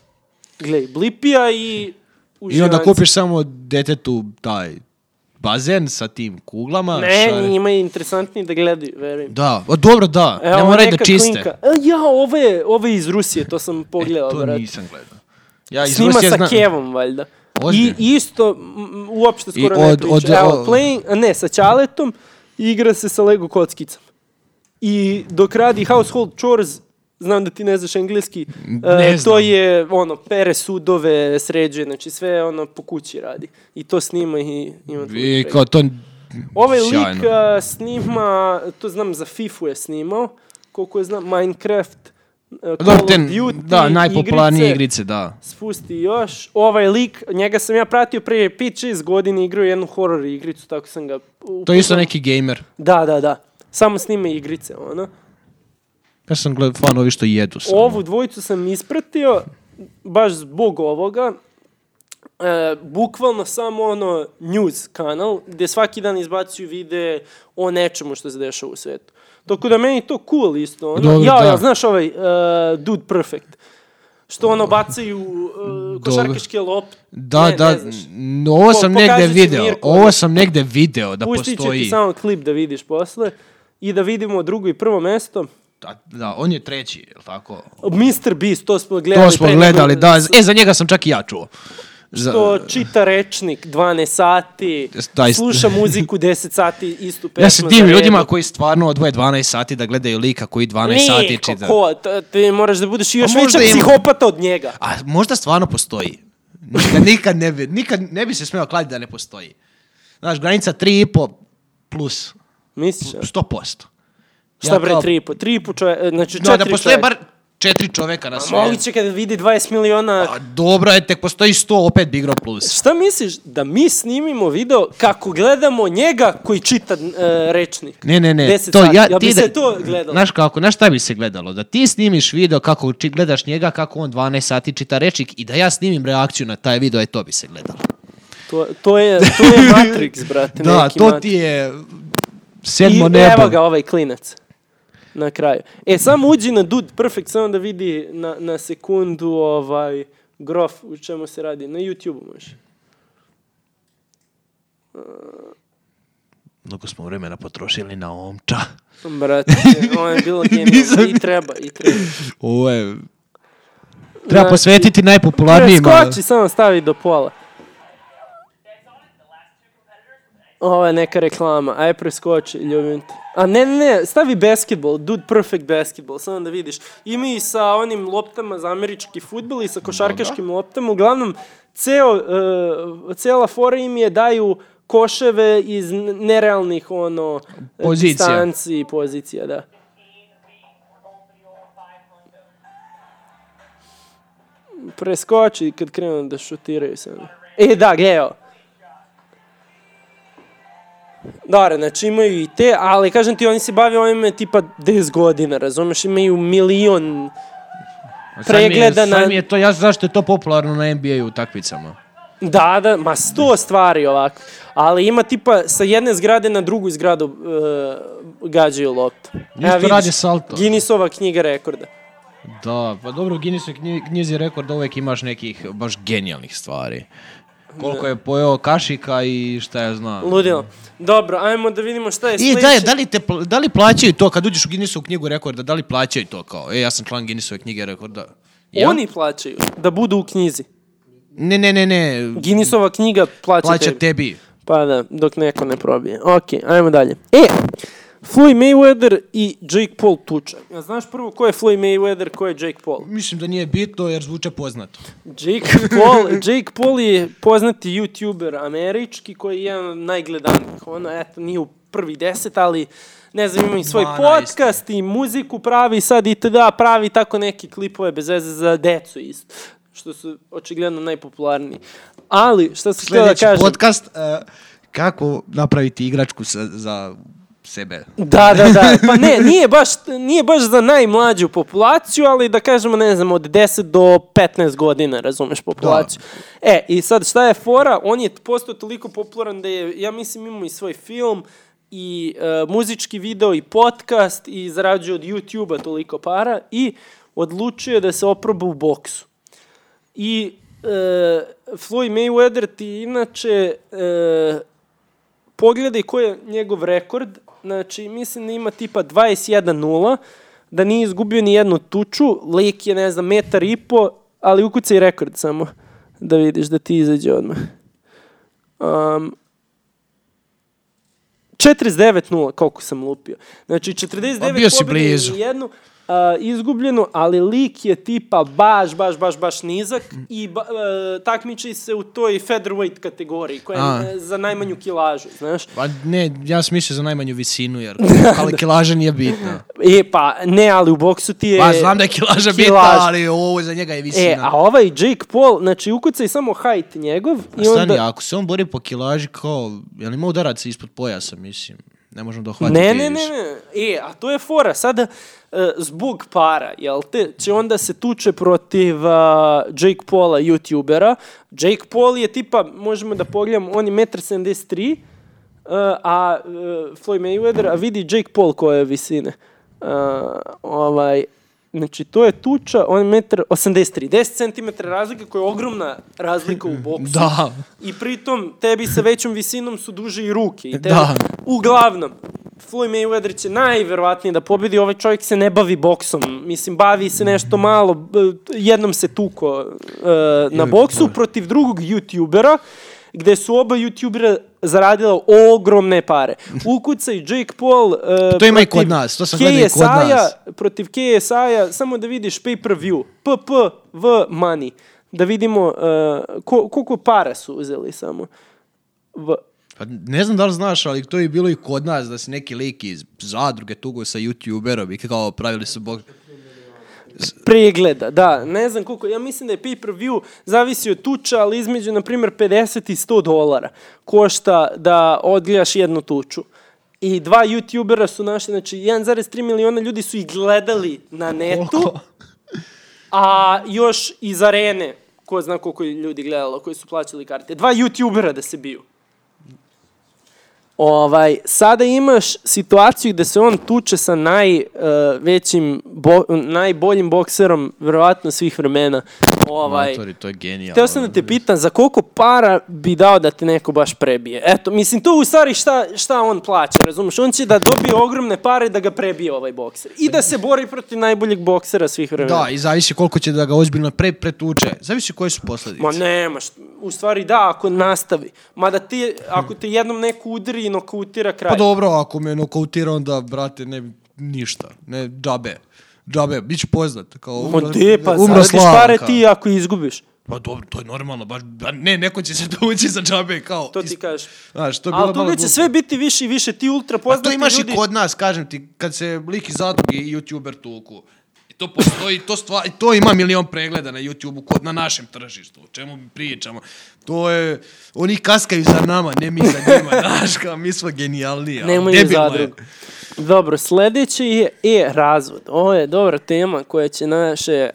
[SPEAKER 1] gledaj, blipija i
[SPEAKER 2] I onda
[SPEAKER 1] uživanci.
[SPEAKER 2] kupiš samo detetu taj bazen sa tim kuglama.
[SPEAKER 1] Ne,
[SPEAKER 2] šare-
[SPEAKER 1] njima je interesantniji da gledaju, verujem.
[SPEAKER 2] Da, o, dobro da,
[SPEAKER 1] Evo,
[SPEAKER 2] ne moraju da
[SPEAKER 1] neka
[SPEAKER 2] čiste. E,
[SPEAKER 1] klinka. E, Ja, ovo je, ovo je iz Rusije, to sam pogledao,
[SPEAKER 2] to
[SPEAKER 1] brate.
[SPEAKER 2] nisam gledao. Ja iz
[SPEAKER 1] snima
[SPEAKER 2] Rusije
[SPEAKER 1] sa
[SPEAKER 2] znam-
[SPEAKER 1] Kevom, valjda. I
[SPEAKER 2] Ozbiljno?
[SPEAKER 1] isto, m, m, uopšte skoro
[SPEAKER 2] I
[SPEAKER 1] ne
[SPEAKER 2] od-
[SPEAKER 1] priča.
[SPEAKER 2] od-
[SPEAKER 1] Evo,
[SPEAKER 2] o-
[SPEAKER 1] playing, a ne, sa Ćaletom igra se sa Lego kockicama. I dok radi household chores, znam da ti ne znaš engleski,
[SPEAKER 2] Ne
[SPEAKER 1] e, to
[SPEAKER 2] znam.
[SPEAKER 1] je ono, pere sudove, sređe, znači sve ono po kući radi. I to snima i ima tu
[SPEAKER 2] I
[SPEAKER 1] pregled.
[SPEAKER 2] kao to...
[SPEAKER 1] Ovaj
[SPEAKER 2] Sjajno.
[SPEAKER 1] lik a, snima, to znam za FIFA je snimao, koliko je znam, Minecraft, e, Call
[SPEAKER 2] Dobro,
[SPEAKER 1] of
[SPEAKER 2] te,
[SPEAKER 1] Duty,
[SPEAKER 2] da, najpopularnije
[SPEAKER 1] igrice
[SPEAKER 2] igrice, da.
[SPEAKER 1] spusti još. Ovaj lik, njega sam ja pratio prije 5-6 godina igrao je jednu horror igricu, tako sam ga... upoznao.
[SPEAKER 2] To je isto neki gamer.
[SPEAKER 1] Da, da, da. Samo snime igrice, ono.
[SPEAKER 2] Ja sam gledao fan ovi što jedu samo.
[SPEAKER 1] Ovu dvojicu sam ispratio, baš zbog ovoga. E, bukvalno samo ono news kanal, gde svaki dan izbacuju vide o nečemu što se dešava u svetu. Tako da meni to cool isto. Ono.
[SPEAKER 2] Dobro,
[SPEAKER 1] ja,
[SPEAKER 2] da.
[SPEAKER 1] ja, znaš ovaj uh, Dude Perfect, što ono bacaju uh, košarkaške lopte.
[SPEAKER 2] Da,
[SPEAKER 1] ne,
[SPEAKER 2] da,
[SPEAKER 1] ne znaš.
[SPEAKER 2] n- ovo
[SPEAKER 1] Po-
[SPEAKER 2] sam
[SPEAKER 1] pokazat
[SPEAKER 2] negde
[SPEAKER 1] ću
[SPEAKER 2] video.
[SPEAKER 1] Mirku.
[SPEAKER 2] Ovo sam negde video da
[SPEAKER 1] Pustit ću ti
[SPEAKER 2] postoji.
[SPEAKER 1] samo klip da vidiš posle i da vidimo drugo i prvo mesto.
[SPEAKER 2] Da, da, on je treći, je li tako?
[SPEAKER 1] Mr. Beast, to smo gledali.
[SPEAKER 2] To smo
[SPEAKER 1] pre nego
[SPEAKER 2] gledali, da. E, za njega sam čak i ja čuo. Za,
[SPEAKER 1] Što čita rečnik 12 sati,
[SPEAKER 2] Da, ist-
[SPEAKER 1] sluša muziku 10 sati, istu pesmu.
[SPEAKER 2] ja se
[SPEAKER 1] za
[SPEAKER 2] divim
[SPEAKER 1] redom.
[SPEAKER 2] ljudima koji stvarno odvoje 12 sati da gledaju lika koji 12 sati
[SPEAKER 1] Niko,
[SPEAKER 2] čita.
[SPEAKER 1] ko, t- ti moraš da budeš još
[SPEAKER 2] A možda
[SPEAKER 1] veća
[SPEAKER 2] ima-
[SPEAKER 1] psihopata od njega.
[SPEAKER 2] A možda stvarno postoji. Nikad, nikad, ne, bi, nikad ne bi se smio kladiti da ne postoji. Znaš, granica 3,5 plus
[SPEAKER 1] Misliš? a?
[SPEAKER 2] 100%.
[SPEAKER 1] Šta
[SPEAKER 2] Ja
[SPEAKER 1] bre,
[SPEAKER 2] kao-
[SPEAKER 1] 3,5? 3,5 čovjeka, znači 4
[SPEAKER 2] No, da
[SPEAKER 1] čovjeka.
[SPEAKER 2] postoje bar četiri čoveka na svijetu.
[SPEAKER 1] Moguće kada vidi 20 miliona
[SPEAKER 2] A dobro je, tek postoji 100, opet bi igrao plus.
[SPEAKER 1] Šta misliš da mi snimimo video kako gledamo njega koji čita e, rečnik?
[SPEAKER 2] Ne, ne, ne.
[SPEAKER 1] Deset
[SPEAKER 2] To,
[SPEAKER 1] sati.
[SPEAKER 2] ja,
[SPEAKER 1] Jel
[SPEAKER 2] ti
[SPEAKER 1] bi
[SPEAKER 2] da-
[SPEAKER 1] se to gledalo?
[SPEAKER 2] Znaš kako, znaš šta bi se gledalo? Da ti snimiš video kako či, gledaš njega, kako on 12 sati čita rečnik i da ja snimim reakciju na taj video, e to bi se gledalo.
[SPEAKER 1] To, to, je, to je Matrix, brate.
[SPEAKER 2] da,
[SPEAKER 1] neki
[SPEAKER 2] to
[SPEAKER 1] Matrix.
[SPEAKER 2] ti je
[SPEAKER 1] I
[SPEAKER 2] sedmo
[SPEAKER 1] evo
[SPEAKER 2] nebo.
[SPEAKER 1] ga ovaj klinac na kraju. E, samo uđi na Dude Perfect, samo da vidi na, na sekundu ovaj grof u čemu se radi. Na YouTube-u može.
[SPEAKER 2] Mnogo smo vremena potrošili na omča.
[SPEAKER 1] Brate, ovo je bilo genijalno. I treba, i treba.
[SPEAKER 2] Ovo je... Treba
[SPEAKER 1] Znači,
[SPEAKER 2] posvetiti najpopularnijima.
[SPEAKER 1] Preskoči, samo stavi do pola. Ovo je neka reklama. Aj preskoči, ljubim te. A ne, ne, ne, stavi basketball, dude perfect basketball, samo da vidiš. Ima i sa onim loptama za američki futbol i sa košarkaškim loptama. Uglavnom, ceo, e, cela fora im je daju koševe iz n- nerealnih ono, e,
[SPEAKER 2] Pozicija.
[SPEAKER 1] distanci i pozicija, da. preskoči kad krenu da šutiraju se. E, da, gledaj ovo. Dobro, znači imaju i te, ali kažem ti, oni se bave ovime tipa 10 godina, razumeš? Imaju milion...
[SPEAKER 2] Sad mi je-
[SPEAKER 1] pregleda na-
[SPEAKER 2] Sad mi je to, ja zašto je to popularno na NBA utakmicama.
[SPEAKER 1] Da, da, ma sto stvari ovako. Ali ima tipa sa jedne zgrade na drugu zgradu uh, gađaju loptu.
[SPEAKER 2] Isto rade salto.
[SPEAKER 1] Guinnessova knjiga rekorda.
[SPEAKER 2] Da, pa dobro, u Guinnessoj knji- knjizi rekorda uvek imaš nekih baš genijalnih stvari. Koliko je pojeo kašika i šta ja znam.
[SPEAKER 1] Ludilo. Dobro, ajmo da vidimo šta je
[SPEAKER 2] I
[SPEAKER 1] sledeće.
[SPEAKER 2] da, je, da, li te, pla- da li plaćaju to, kad uđeš u Guinnessovu knjigu rekorda, da li plaćaju to kao, e, ja sam član Guinnessove knjige rekorda. Jel?
[SPEAKER 1] Oni plaćaju da budu u knjizi.
[SPEAKER 2] Ne, ne, ne, ne,
[SPEAKER 1] Guinnessova knjiga plaća,
[SPEAKER 2] plaća
[SPEAKER 1] tebi.
[SPEAKER 2] tebi.
[SPEAKER 1] Pa da, dok neko ne probije. Ok, ajmo dalje. E, Floyd Mayweather i Jake Paul tuče. Ja znaš prvo ko je Floyd Mayweather, ko je Jake Paul?
[SPEAKER 2] Mislim da nije bitno jer zvuče poznato.
[SPEAKER 1] Jake Paul, Jake Paul je poznati youtuber američki koji je jedan od najgledanijih. Ono, eto, nije u prvi deset, ali ne znam, ima i svoj
[SPEAKER 2] 12.
[SPEAKER 1] podcast i muziku pravi sad i tada pravi tako neke klipove bez veze za decu isto. Što su očigledno najpopularniji. Ali, šta sam htio da
[SPEAKER 2] Sljedeći
[SPEAKER 1] kažem?
[SPEAKER 2] podcast, e, kako napraviti igračku sa, za sebe.
[SPEAKER 1] Da, da, da. Pa ne, nije baš, nije baš za najmlađu populaciju, ali da kažemo, ne znam, od 10 do 15 godina, razumeš, populaciju. E, i sad šta je fora? On je postao toliko popularan da je, ja mislim, imao i svoj film, i e, muzički video, i podcast, i zarađuje od YouTube-a toliko para, i odlučio je da se oproba u boksu. I e, Floyd Mayweather ti inače e, pogledaj koji je njegov rekord. Znači, mislim da ima tipa 21-0, da nije izgubio ni jednu tuču, lik je, ne znam, metar i po, ali ukucaj rekord samo, da vidiš da ti izađe odmah. Um, 49-0, koliko sam lupio. Znači, 49
[SPEAKER 2] A Pa bio si
[SPEAKER 1] pobjeda i
[SPEAKER 2] blizu.
[SPEAKER 1] jednu a, izgubljenu, ali lik je tipa baš, baš, baš, baš nizak i ba, e, takmiči se u toj featherweight kategoriji, koja
[SPEAKER 2] A.
[SPEAKER 1] je e, za najmanju kilažu, znaš.
[SPEAKER 2] Pa ne, ja sam mislio za najmanju visinu jer ali kilaža nije bitna.
[SPEAKER 1] E, pa, ne, ali u boksu ti je...
[SPEAKER 2] Pa znam da je kilaža bitna,
[SPEAKER 1] kilaža.
[SPEAKER 2] ali ovo za njega je visina.
[SPEAKER 1] E, a ovaj Jake Paul, znači ukucaj samo hajt njegov
[SPEAKER 2] A
[SPEAKER 1] i
[SPEAKER 2] stani,
[SPEAKER 1] onda...
[SPEAKER 2] ako se on bori po kilaži kao, jel ima udaraca ispod pojasa, mislim. Ne možemo dohvatiti.
[SPEAKER 1] Ne, ne, ne,
[SPEAKER 2] više.
[SPEAKER 1] ne, e, a to je fora, sada e, zbog para, jel te, će onda se tuče protiv a, Jake Paula, youtubera. Jake Paul je tipa, možemo da pogledamo, on je 1,73 a, eh, a e, Floyd Mayweather, a vidi Jake Paul koja je visine. A, ovaj, znači, to je tuča, on je 1,83 10 cm razlike koja je ogromna razlika u boksu.
[SPEAKER 2] Da.
[SPEAKER 1] I pritom, tebi sa većom visinom su duže i ruke. I tebi,
[SPEAKER 2] Da.
[SPEAKER 1] Uglavnom, Floyd Mayweather će najverovatnije da pobedi, ovaj čovjek se ne bavi boksom, mislim, bavi se nešto malo, b- jednom se tuko e, na boksu protiv drugog youtubera, gde su oba youtubera zaradila ogromne pare. Ukucaj Jake Paul... e,
[SPEAKER 2] To ima i
[SPEAKER 1] protiv
[SPEAKER 2] kod nas, to sam gledao i kod
[SPEAKER 1] KSI-a,
[SPEAKER 2] nas.
[SPEAKER 1] protiv KSI-a, samo da vidiš pay per view, PPV money, da vidimo e, ko, koliko para su uzeli samo. V,
[SPEAKER 2] Pa ne znam da li znaš, ali to je bilo i kod nas, da se neki lik iz zadruge tugo sa youtuberom i kao pravili su bok...
[SPEAKER 1] pregleda, da, ne znam koliko, ja mislim da je pay per view zavisi od tuča, ali između, na primjer, 50 i 100 dolara košta da odgledaš jednu tuču. I dva youtubera su našli, znači 1,3 miliona ljudi su ih gledali na netu,
[SPEAKER 2] Koliko?
[SPEAKER 1] a još iz arene, ko zna koliko je ljudi gledalo, koji su plaćali karte, dva youtubera da se biju. Ovaj, sada imaš situaciju gde se on tuče sa najvećim, bo, najboljim bokserom, verovatno svih vremena. Ovaj,
[SPEAKER 2] Matori, to je genijalno.
[SPEAKER 1] Teo sam da te pitan, za koliko para bi dao da te neko baš prebije? Eto, mislim, to u stvari šta, šta on plaća, razumiješ? On će da dobije ogromne pare da ga prebije ovaj bokser. I da se bori protiv najboljeg boksera svih vremena.
[SPEAKER 2] Da, i zavisi koliko će da ga ozbiljno pre pretuče. Zavisi koje su posledice.
[SPEAKER 1] Ma nema, št- u stvari da, ako nastavi. Mada ti, ako te jednom neko udri i nokautira kraj.
[SPEAKER 2] Pa dobro, ako me nokautira, onda, brate, ne, ništa. Ne, džabe. Džabe, bit ću poznat. Kao,
[SPEAKER 1] Ma
[SPEAKER 2] umro,
[SPEAKER 1] de, pa
[SPEAKER 2] umro
[SPEAKER 1] zaradiš
[SPEAKER 2] Slavan,
[SPEAKER 1] pare
[SPEAKER 2] kao.
[SPEAKER 1] ti ako izgubiš.
[SPEAKER 2] Pa dobro, to je normalno, baš, ba- ne, neko će se dovući za džabe, kao...
[SPEAKER 1] To ti
[SPEAKER 2] is-
[SPEAKER 1] kažeš.
[SPEAKER 2] Znaš, to je bilo
[SPEAKER 1] Ali
[SPEAKER 2] malo
[SPEAKER 1] toga će
[SPEAKER 2] glupo.
[SPEAKER 1] sve biti više i više. Ti ultra
[SPEAKER 2] Pa to
[SPEAKER 1] poznati
[SPEAKER 2] imaš
[SPEAKER 1] ljudi...
[SPEAKER 2] i kod nas, kažem ti, kad se lik iz zadruge i youtuber tuku. I to postoji, to, stvar, i to ima milion pregleda na YouTubeu kod na našem tržištu. O čemu mi pričamo? To je, oni kaskaju za nama, ne mi za njima, znaš, kao mi smo genijalni. ali
[SPEAKER 1] Nemoj je
[SPEAKER 2] debilno je.
[SPEAKER 1] zadrugu. Dobro, sljedeći je e-razvod. Ovo je dobra tema koja će naše e,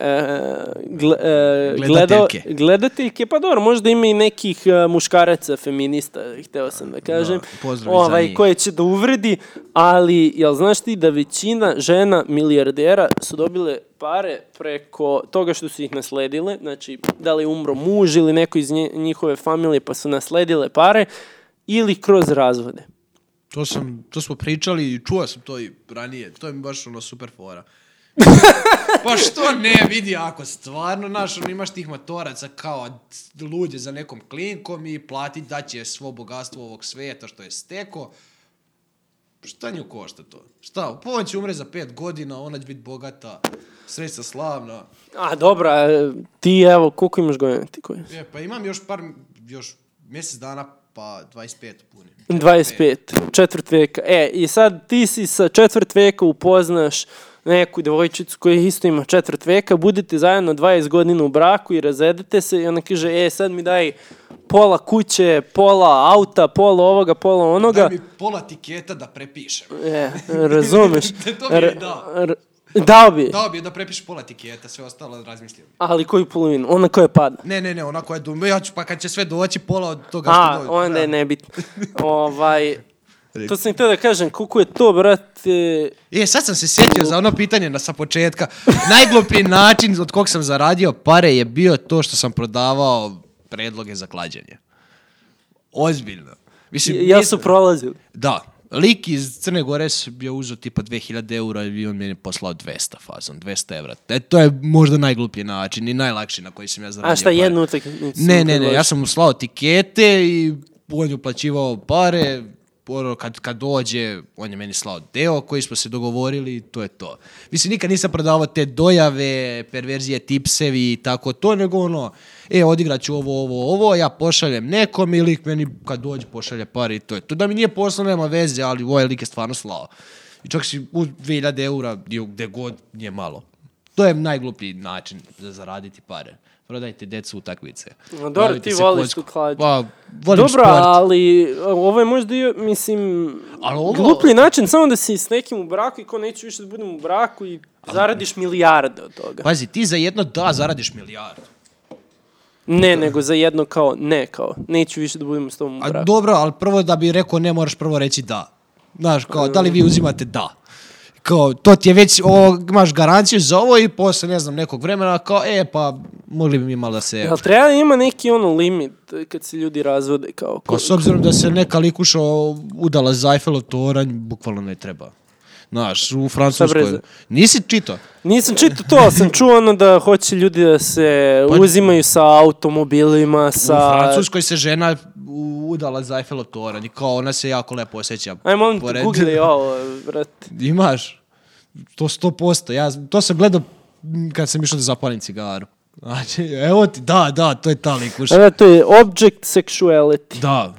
[SPEAKER 1] gle, e,
[SPEAKER 2] Gledateljke.
[SPEAKER 1] gledao- gledateljke, pa dobro, možda ima i nekih e, muškaraca, feminista, hteo sam da kažem,
[SPEAKER 2] pozdrav i za
[SPEAKER 1] ovaj,
[SPEAKER 2] njih.
[SPEAKER 1] koje će da uvredi, ali jel znaš ti da većina žena milijardera su dobile pare preko toga što su ih nasledile, znači da li je umro muž ili neko iz nje- njihove familije pa su nasledile pare, ili kroz razvode.
[SPEAKER 2] To, sam, to smo pričali i čuo sam to i ranije. To je mi baš ono super fora. pa što ne, vidi, ako stvarno, naš, ono, imaš tih matoraca kao luđe za nekom klinkom i platit da će svo bogatstvo ovog svijeta što je steko, šta nju košta to? Šta, on će umre za pet godina, ona će biti bogata, sreća slavna.
[SPEAKER 1] A dobra, e, ti evo, koliko imaš godina ti koji?
[SPEAKER 2] E, pa imam još par, još mjesec dana, pa 25 puni.
[SPEAKER 1] 25, četvrt veka. E, i sad ti si sa četvrt veka upoznaš neku djevojčicu koja isto ima četvrt veka, budete zajedno 20 godina u braku i razedete se i ona kaže, e, sad mi daj pola kuće, pola auta, pola ovoga, pola onoga.
[SPEAKER 2] Daj mi pola tiketa da prepišem.
[SPEAKER 1] E, razumeš.
[SPEAKER 2] To bi je
[SPEAKER 1] R-
[SPEAKER 2] dao.
[SPEAKER 1] r- dao bi,
[SPEAKER 2] Dao bi je da prepišem pola tiketa, sve ostalo razmislio bi.
[SPEAKER 1] ali koju polovinu? Ona koja pada.
[SPEAKER 2] Ne, ne, ne, onako je dum, ja ću, pa kad će sve doći, pola od toga što
[SPEAKER 1] A,
[SPEAKER 2] dođe.
[SPEAKER 1] onda je
[SPEAKER 2] Da.
[SPEAKER 1] nebitno. ovaj,
[SPEAKER 2] Rek-
[SPEAKER 1] to sam htio da kažem, koliko je to, brate,
[SPEAKER 2] E, sad sam se sjetio za ono pitanje na sa početka. Najgluplji način od kog sam zaradio pare je bio to što sam prodavao predloge za klađenje. Ozbiljno. Mislim,
[SPEAKER 1] ja
[SPEAKER 2] nisam-
[SPEAKER 1] su prolazili.
[SPEAKER 2] Da. Lik iz Crne Gore s- bio uzeo tipa 2000 eura i on meni je poslao 200 fazom, 200 eura. E, to je možda najgluplji način i najlakši na koji sam ja zaradio
[SPEAKER 1] A šta,
[SPEAKER 2] pare.
[SPEAKER 1] jednu utakmicu?
[SPEAKER 2] pa- Ne, ne, ne, ja sam mu slao tikete i on je uplaćivao pare, ono, kad, kad dođe, on je meni slao deo koji smo se dogovorili i to je to. Mislim, nikad nisam prodavao te dojave, perverzije, tipsevi i tako to, nego ono, e, odigrat ću ovo, ovo, ovo, ja pošaljem nekom i lik meni kad dođe pošalje pare i to je to. Da mi nije poslao, nema veze, ali ovaj lik je stvarno slao. I čak si u 2000 eura, gdje god, nije malo. To je najgluplji način za zaraditi pare. Prodajte decu utakmice.
[SPEAKER 1] No, dobro,
[SPEAKER 2] Bavite
[SPEAKER 1] ti
[SPEAKER 2] se
[SPEAKER 1] voliš
[SPEAKER 2] kockom.
[SPEAKER 1] tu klađu.
[SPEAKER 2] Pa, volim
[SPEAKER 1] Dobro,
[SPEAKER 2] sport.
[SPEAKER 1] ali a, ovo je možda i, mislim,
[SPEAKER 2] Ali ovo-
[SPEAKER 1] gluplji način samo da si s nekim u braku i ko neću više da budem u braku i zaradiš milijarde od toga.
[SPEAKER 2] Pazi, ti za jedno da zaradiš milijardu.
[SPEAKER 1] Ne, nego za jedno kao, ne kao, neću više da budem s tobom u
[SPEAKER 2] A
[SPEAKER 1] braku.
[SPEAKER 2] dobro, ali prvo da bi rekao ne moraš prvo reći da. Znaš, kao, da li vi uzimate da? Kao, to ti je već, o, imaš garanciju za ovo i posle, ne znam, nekog vremena, kao, e, pa, mogli bi mi malo da se...
[SPEAKER 1] Jel treba da ima neki ono limit e, kad se ljudi razvode kao? ko-
[SPEAKER 2] Kao, s obzirom da se neka likuša udala za Eiffelov toranj, bukvalno ne treba. Znaš, u Francuskoj.
[SPEAKER 1] breze?
[SPEAKER 2] Nisi čitao?
[SPEAKER 1] Nisam čitao to, ali sam čuo ono da hoće ljudi da se
[SPEAKER 2] Pa-
[SPEAKER 1] uzimaju sa automobilima, sa...
[SPEAKER 2] U Francuskoj se žena u- udala za Eiffelov toranj i kao ona se jako lepo osjeća.
[SPEAKER 1] Aj, molim te,
[SPEAKER 2] pored-
[SPEAKER 1] googlej ovo, brate.
[SPEAKER 2] Imaš. To sto posto. Ja, to sam gledao m, kad sam išao da zapalim cigaru. Znači, evo ti, da, da, to je ta likuša.
[SPEAKER 1] Da, to je object sexuality.
[SPEAKER 2] Da.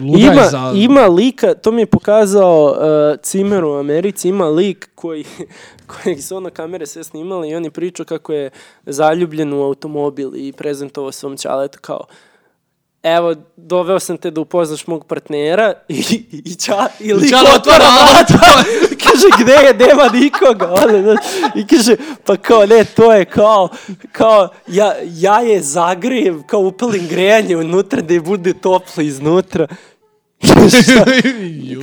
[SPEAKER 2] Luda je
[SPEAKER 1] Ima,
[SPEAKER 2] za...
[SPEAKER 1] ima lika, to mi je pokazao uh, Cimer u Americi, ima lik koji, kojeg su ono kamere sve snimale i on je pričao kako je zaljubljen u automobil i prezentovao svom čaletu kao evo, doveo sam te da upoznaš mog partnera i, i, i, ča, i lik
[SPEAKER 2] Čalo otvara vrata.
[SPEAKER 1] kaže gde je, nema nikoga. Ono, znaš, I kaže, pa kao ne, to je kao, kao ja, ja je zagrijem, kao upalim grejanje unutra da je bude toplo iznutra.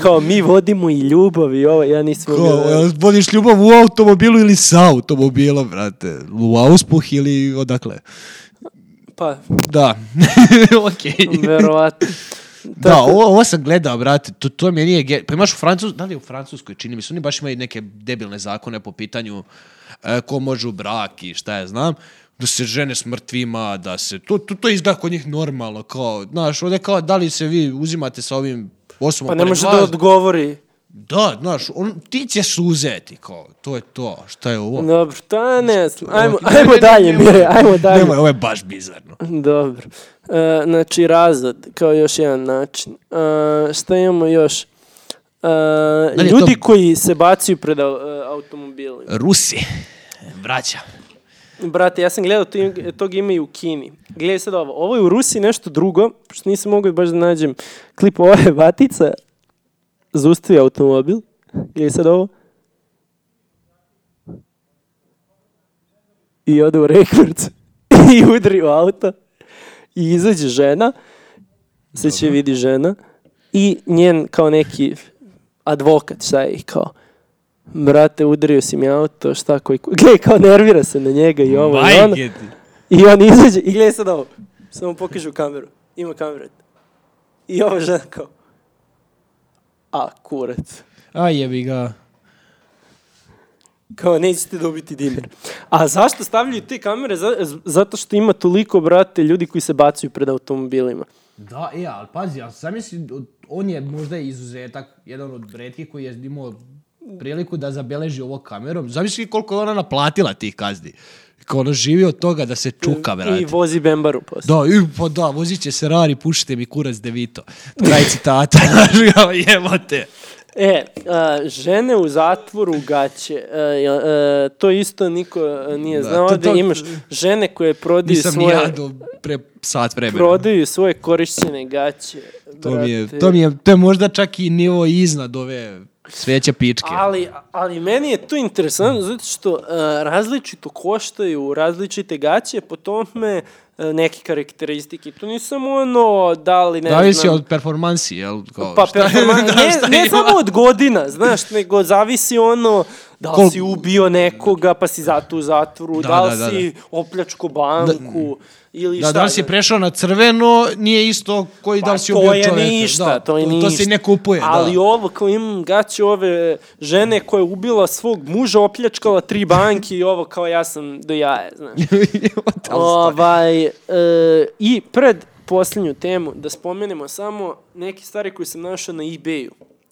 [SPEAKER 1] kao mi vodimo i ljubav i ovo, ja nisam...
[SPEAKER 2] Ko,
[SPEAKER 1] mogao-
[SPEAKER 2] jel vodiš ljubav u automobilu ili sa automobilom, brate? U auspuh ili odakle?
[SPEAKER 1] Pa,
[SPEAKER 2] Da, okej.
[SPEAKER 1] verovatno.
[SPEAKER 2] Da, ovo, ovo sam gledao, brate, to, to mi nije... ge- Pa imaš u Francuskoj, da li je u Francuskoj, čini mi se, oni baš imaju neke debilne zakone po pitanju e, ko može u brak i šta ja znam, da se žene s mrtvima, da se... To, to, to izgleda kod njih normalno, kao, znaš, ovdje kao, da li se vi uzimate sa ovim osobom...
[SPEAKER 1] Pa ne
[SPEAKER 2] pored
[SPEAKER 1] može da
[SPEAKER 2] vas?
[SPEAKER 1] odgovori.
[SPEAKER 2] Da, znaš, on, ti ćeš uzeti, kao, to je to, šta je ovo?
[SPEAKER 1] Dobro, ta ne znam. Ajmo,
[SPEAKER 2] Ne, ne,
[SPEAKER 1] ajmo
[SPEAKER 2] ne,
[SPEAKER 1] dalje,
[SPEAKER 2] nemoj.
[SPEAKER 1] Mire, ajmo dalje.
[SPEAKER 2] Nemoj, ovo je baš bizarno.
[SPEAKER 1] Dobro. E, znači, razvod, kao još jedan način. E, šta imamo još? E,
[SPEAKER 2] li je
[SPEAKER 1] ljudi
[SPEAKER 2] to-
[SPEAKER 1] koji se bacaju pred au- e, automobilima.
[SPEAKER 2] Rusi, vraća.
[SPEAKER 1] Brate, ja sam gledao, to, im- e, tog ima i u Kini. Gledaj sad ovo. Ovo je u Rusiji nešto drugo, pošto nisam mogao baš da nađem klip ova je vatica. Zustavi automobil. Gledaj sad ovo. I ode u rekvrt. I udri u auto. I izađe žena. Sad će vidi žena. I njen kao neki advokat, šta je kao. Brate, udario si mi auto, šta koji... Gledaj, kao nervira se na njega i ovo. i ono.
[SPEAKER 2] Majke ti.
[SPEAKER 1] I on izađe i gleda sad ovo. Samo pokaže u kameru. Ima kameru. I ovo žena kao. A, kurac.
[SPEAKER 2] Aj jebi ga.
[SPEAKER 1] Kao, nećete dobiti dinar. A zašto stavljaju te kamere? Za- z- Zato što ima toliko, brate, ljudi koji se bacaju pred automobilima.
[SPEAKER 2] Da, e, ali pazi, ali zamisli od, on je možda i izuzetak, jedan od redkih koji je imao priliku da zabeleži ovo kamerom. Zamisli koliko je ona naplatila tih kazni. Kao ona živi od toga da se čuka, brate.
[SPEAKER 1] I vozi Bembaru posle.
[SPEAKER 2] Da, i, pa da, vozit će se rari, pušite mi kurac devito. Kraj citata, znaš kao, jebote.
[SPEAKER 1] E, a, žene u zatvoru gaće, e, jel, e, to isto niko e, nije
[SPEAKER 2] Da,
[SPEAKER 1] znao,
[SPEAKER 2] to-
[SPEAKER 1] da
[SPEAKER 2] to-
[SPEAKER 1] imaš žene koje prodaju
[SPEAKER 2] Nisam ni
[SPEAKER 1] svoje...
[SPEAKER 2] ja do pre sat vremena.
[SPEAKER 1] prodaju svoje korišćene gaće.
[SPEAKER 2] To mi, je,
[SPEAKER 1] brate.
[SPEAKER 2] to mi je, to je možda čak i nivo iznad ove sveće pičke.
[SPEAKER 1] Ali, ali meni je to interesantno zato što e, različito koštaju različite gaće po tome e, neke karakteristike. To nisu samo ono da li ne
[SPEAKER 2] da li si
[SPEAKER 1] znam...
[SPEAKER 2] od performansi, jel? Kao,
[SPEAKER 1] Pa
[SPEAKER 2] šta-
[SPEAKER 1] performan,
[SPEAKER 2] da, šta
[SPEAKER 1] ne, ne
[SPEAKER 2] ima?
[SPEAKER 1] samo od godina, znaš, nego zavisi ono da li
[SPEAKER 2] Kol-
[SPEAKER 1] si ubio nekoga pa si zato u zatvoru, da,
[SPEAKER 2] Da,
[SPEAKER 1] li
[SPEAKER 2] da, da,
[SPEAKER 1] si opljačko banku ili
[SPEAKER 2] Da,
[SPEAKER 1] šta.
[SPEAKER 2] da li si
[SPEAKER 1] znaš.
[SPEAKER 2] prešao na crveno, nije isto koji da
[SPEAKER 1] Pa
[SPEAKER 2] li si ubio
[SPEAKER 1] to je
[SPEAKER 2] čoveka.
[SPEAKER 1] ništa,
[SPEAKER 2] da,
[SPEAKER 1] to je
[SPEAKER 2] to,
[SPEAKER 1] ništa.
[SPEAKER 2] se ne kupuje,
[SPEAKER 1] Ali ono-
[SPEAKER 2] da.
[SPEAKER 1] ovo, kao imam gaće ove žene koja je ubila svog muža, opljačkala tri banke i ovo kao ja sam do jaje, znaš. ovaj, e, I pred posljednju temu da spomenemo samo neke stvari koje sam našao na ebayu.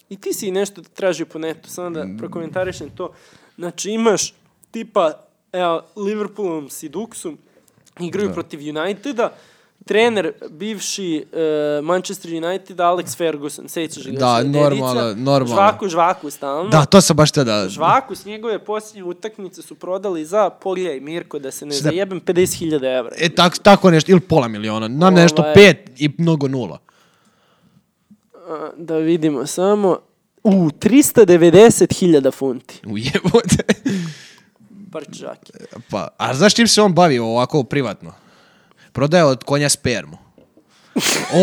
[SPEAKER 1] I ti si nešto tražio po netu, samo
[SPEAKER 2] Mm.
[SPEAKER 1] da prokomentarišem to. Znači imaš tipa, evo, Liverpoolom si Duxom, igraju protiv Uniteda, trener bivši e, Manchester United Alex Ferguson, sećaš ga?
[SPEAKER 2] Da,
[SPEAKER 1] se, dedica,
[SPEAKER 2] normalno, normalno.
[SPEAKER 1] Žvaku, žvaku stalno.
[SPEAKER 2] Da, to sam baš te da...
[SPEAKER 1] Žvaku s njegove posljednje utakmice su prodali za, pogledaj Mirko, da se ne
[SPEAKER 2] Šta?
[SPEAKER 1] zajebem, 50.000 evra.
[SPEAKER 2] E, tak, tako nešto, ili pola miliona, nam nešto
[SPEAKER 1] Ovaj.
[SPEAKER 2] pet i mnogo nula.
[SPEAKER 1] A, Da vidimo samo. U, 390.000 funti.
[SPEAKER 2] Ujebote.
[SPEAKER 1] Parč žake.
[SPEAKER 2] Pa, a znaš čim se on bavi ovako privatno? Prodaje od konja spermu.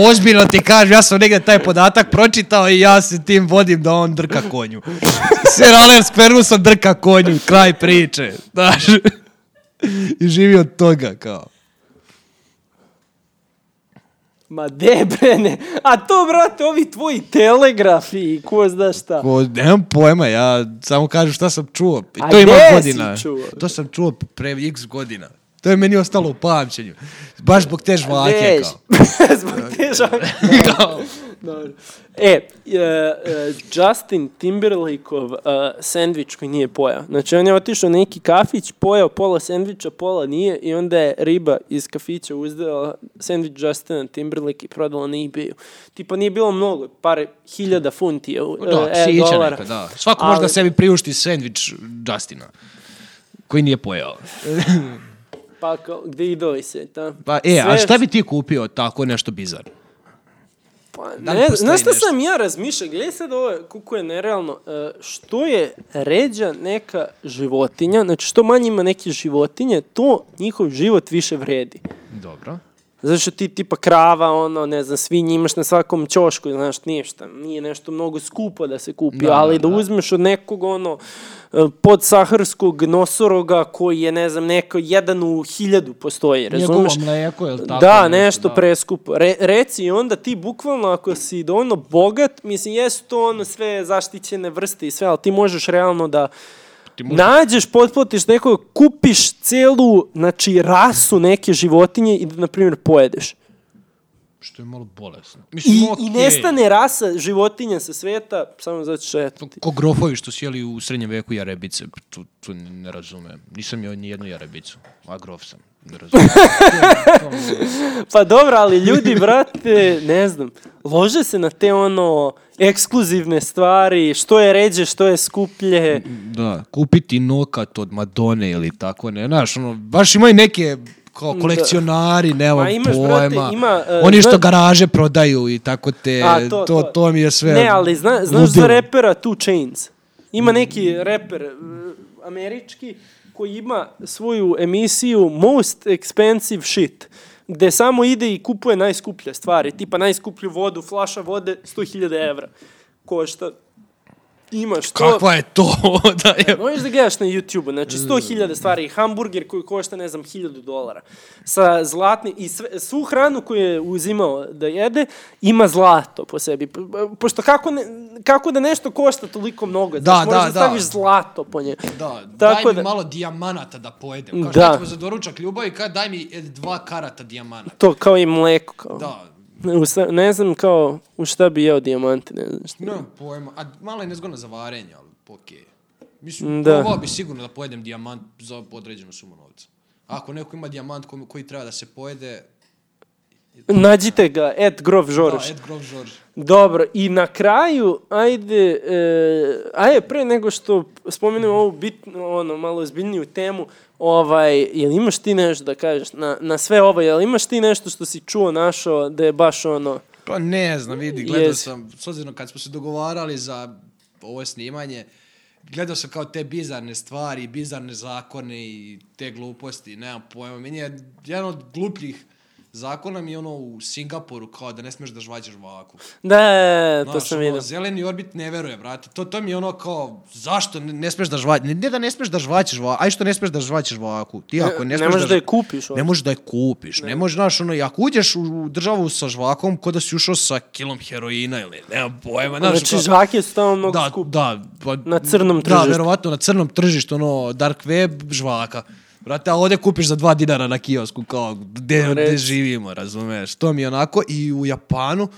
[SPEAKER 2] Ozbiljno ti kažem, ja sam negdje taj podatak pročitao i ja se tim vodim da on drka konju. Sir Alex Ferguson drka konju, kraj priče. Znaš? I živi od toga, kao.
[SPEAKER 1] Ma de bre, ne. A to, brate, ovi tvoji telegrafi i ko zna šta.
[SPEAKER 2] Ko, nemam pojma, ja samo kažem šta sam čuo. I
[SPEAKER 1] A
[SPEAKER 2] to ima
[SPEAKER 1] gde si
[SPEAKER 2] godina.
[SPEAKER 1] čuo?
[SPEAKER 2] To sam čuo pre x godina. To je meni ostalo u pamćenju. Baš zbog te žvake,
[SPEAKER 1] Deš.
[SPEAKER 2] kao.
[SPEAKER 1] Zbog te žake. Dobro. E, e, e, Justin Timberlakeov e, sandvič koji nije pojao. Znači, on je otišao u neki kafić, pojao pola sandviča, pola nije i onda je riba iz kafića uzdela sandvič Justina Timberlake i prodala na ebayu. Tipa, nije bilo mnogo, par hiljada funti je,
[SPEAKER 2] Pa Da,
[SPEAKER 1] e,
[SPEAKER 2] psića
[SPEAKER 1] dolara.
[SPEAKER 2] neka, da. Svako može da
[SPEAKER 1] Ali-
[SPEAKER 2] sebi priušti sandvič Justina. Koji nije pojeo.
[SPEAKER 1] Pa kao, gde idovi se, ta?
[SPEAKER 2] Pa, e,
[SPEAKER 1] Sve-
[SPEAKER 2] a šta bi ti kupio tako nešto bizarno?
[SPEAKER 1] Pa,
[SPEAKER 2] Da li
[SPEAKER 1] ne,
[SPEAKER 2] postoji
[SPEAKER 1] znaš šta
[SPEAKER 2] nešto?
[SPEAKER 1] sam ja razmišljao, gledaj sad ovo kako je nerealno, E, što je ređa neka životinja, znači što manje ima neke životinje, to njihov život više vredi.
[SPEAKER 2] Dobro.
[SPEAKER 1] Zato što ti tipa krava, ono, ne znam, svinje imaš na svakom ćošku, znaš, ništa, nije nešto mnogo skupo da se kupi,
[SPEAKER 2] Da,
[SPEAKER 1] ali da,
[SPEAKER 2] da, da.
[SPEAKER 1] uzmeš od nekog, ono, e, podsaharskog nosoroga koji je, ne znam, neko, jedan u hiljadu postoji, razumeš?
[SPEAKER 2] Njegovo mleko, jel tako?
[SPEAKER 1] da, nešto preskupo. Re, reci i onda ti bukvalno ako si dovoljno bogat, mislim jesu to ono sve zaštićene vrste i sve, ali ti možeš realno da
[SPEAKER 2] Ti možeš-
[SPEAKER 1] nađeš, potplatiš nekog, kupiš celu, znači rasu neke životinje i da, na primjer, pojedeš.
[SPEAKER 2] Što je malo bolesno.
[SPEAKER 1] I,
[SPEAKER 2] okej.
[SPEAKER 1] I nestane rasa životinja sa sveta, samo zato što je ti.
[SPEAKER 2] Ko grofovi što sjeli u srednjem veku jarebice, tu, tu ne razumem. Nisam joj ni jednu jarebicu, a grof sam. Ne razumem.
[SPEAKER 1] Pa dobro, ali ljudi, brate, ne znam, lože se na te ono ekskluzivne stvari, što je ređe, što je skuplje.
[SPEAKER 2] da, kupiti nokat od Madone ili tako, ne, znaš, ono, baš imaju neke kao kolekcionari, nemam
[SPEAKER 1] Ma imaš,
[SPEAKER 2] pojma.
[SPEAKER 1] brate, ima, e,
[SPEAKER 2] Oni što
[SPEAKER 1] zna-
[SPEAKER 2] garaže prodaju i tako te,
[SPEAKER 1] A,
[SPEAKER 2] to, to, mi je sve
[SPEAKER 1] Ne, ali zna, znaš
[SPEAKER 2] ludilo.
[SPEAKER 1] za repera Two Chainz? Ima neki reper eh, američki koji ima svoju emisiju Most Expensive Shit gde samo ide i kupuje najskuplje stvari, tipa najskuplju vodu, flaša vode 100.000 evra košta. Imaš to.
[SPEAKER 2] Kakva je to? da je...
[SPEAKER 1] Možeš da gledaš na YouTube-u, znači
[SPEAKER 2] Mm.
[SPEAKER 1] 100.000 stvari i hamburger koji košta, ne znam, 1000 dolara. Sa zlatni, i sve, svu hranu koju je uzimao da jede, ima zlato po sebi. Po- po- Pošto kako, ne, kako da nešto košta toliko mnogo, da, znači,
[SPEAKER 2] Da,
[SPEAKER 1] možeš da,
[SPEAKER 2] da, da.
[SPEAKER 1] staviš zlato po njemu.
[SPEAKER 2] Da,
[SPEAKER 1] Tako
[SPEAKER 2] daj mi
[SPEAKER 1] da-
[SPEAKER 2] malo dijamanata da pojedem. Kao
[SPEAKER 1] Da.
[SPEAKER 2] što ćemo za doručak ljubavi, kad daj mi e, dva karata dijamanata.
[SPEAKER 1] To kao i mleko. Kao.
[SPEAKER 2] Da,
[SPEAKER 1] u sa- ne znam kao u šta bi jeo dijamante, ne znam šta.
[SPEAKER 2] Nemam pojma. A malo je nezgodno za varenje, ali okej. Mislim,
[SPEAKER 1] Da.
[SPEAKER 2] da. bi sigurno da pojedem dijamant za određenu sumu novca. Ako neko ima dijamant kom- koji treba da se pojede,
[SPEAKER 1] Nađite ga, et grov
[SPEAKER 2] da,
[SPEAKER 1] žoroš.
[SPEAKER 2] Ed Grof Žorž.
[SPEAKER 1] Dobro, i na kraju, ajde, e, ajde pre nego što spomenemo ovu bitnu, ono, malo ozbiljniju temu, ovaj, jel imaš ti nešto da kažeš na, na sve ovo, jel imaš ti nešto što si čuo našo da je baš ono,
[SPEAKER 2] Pa ne znam, vidi, gledao
[SPEAKER 1] Jesi.
[SPEAKER 2] sam, s obzirom kad smo se dogovarali za ovo snimanje, gledao sam kao te bizarne stvari, bizarne zakone i te gluposti, nemam pojma. Meni je jedan od glupljih zakona mi je ono u Singapuru kao da ne smiješ da žvađaš vaku.
[SPEAKER 1] da, da, da, E, to
[SPEAKER 2] Znaš,
[SPEAKER 1] sam
[SPEAKER 2] ono,
[SPEAKER 1] vidio.
[SPEAKER 2] Zeleni orbit ne veruje, brate. To, to mi je ono kao, zašto ne, ne smiješ da žvaćeš? Ne, ne da ne smiješ da žvaćeš vaku, aj što ne smiješ da žvaćeš vaku. Ti ako ne,
[SPEAKER 1] E, Ne,
[SPEAKER 2] smiješ
[SPEAKER 1] možeš da
[SPEAKER 2] žva-
[SPEAKER 1] je kupiš. ono.
[SPEAKER 2] ne možeš da je kupiš, ne, možeš, znaš, ono, i ako uđeš u, u državu sa žvakom, ko da si ušao sa kilom heroina ili nemam pojma, znaš,
[SPEAKER 1] Znači,
[SPEAKER 2] kao-
[SPEAKER 1] žvake su tamo mnogo
[SPEAKER 2] da,
[SPEAKER 1] skupe.
[SPEAKER 2] da, pa,
[SPEAKER 1] Na crnom
[SPEAKER 2] Da,
[SPEAKER 1] tržištu.
[SPEAKER 2] verovatno na crnom tržištu, ono, dark web, žvaka. Brate, a ovdje kupiš za dva dinara na kiosku, kao, gde, gde
[SPEAKER 1] Reci.
[SPEAKER 2] živimo, razumeš? To mi je onako, i u Japanu,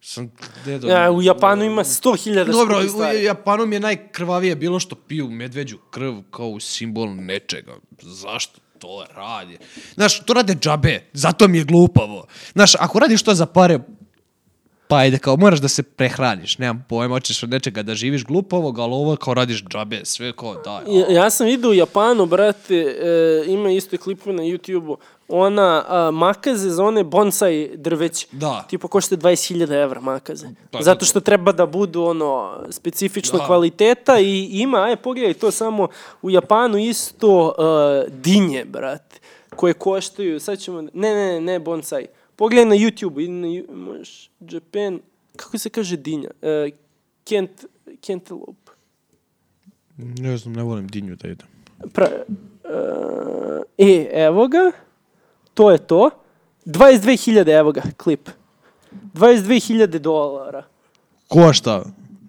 [SPEAKER 2] sam, gde do-
[SPEAKER 1] Ja, u Japanu ima 100.000
[SPEAKER 2] Dobro,
[SPEAKER 1] skupih
[SPEAKER 2] u
[SPEAKER 1] stvari.
[SPEAKER 2] Japanu mi je najkrvavije bilo što piju medveđu krv kao simbol nečega. Zašto to radi? Znaš, to rade džabe, zato mi je glupavo. Znaš, ako radiš to za pare, pa ajde, kao moraš da se prehraniš, nemam pojma, hoćeš od nečega da živiš glupavo, ali ovo kao radiš džabe, sve kao daj.
[SPEAKER 1] Ja, ja sam vidio u Japanu, brate, e, ima isto klipove na YouTube-u, ona a, makaze za one bonsai drveće.
[SPEAKER 2] Da.
[SPEAKER 1] Tipo košta 20.000 evra makaze.
[SPEAKER 2] Pa,
[SPEAKER 1] Zato što treba da budu ono specifično
[SPEAKER 2] Da.
[SPEAKER 1] kvaliteta i ima, aj pogledaj to samo u Japanu isto e, dinje, brate, koje koštaju, sad ćemo, ne, ne, ne, bonsai. Pogledaj na YouTube, idi na Ju- možeš, Japan, kako se kaže dinja? E, kent, kentelope.
[SPEAKER 2] Ne znam, ne volim dinju da idem.
[SPEAKER 1] Pra, e, e, evo ga. To je to. 22.000, evo ga, klip. 22.000 dolara.
[SPEAKER 2] Košta?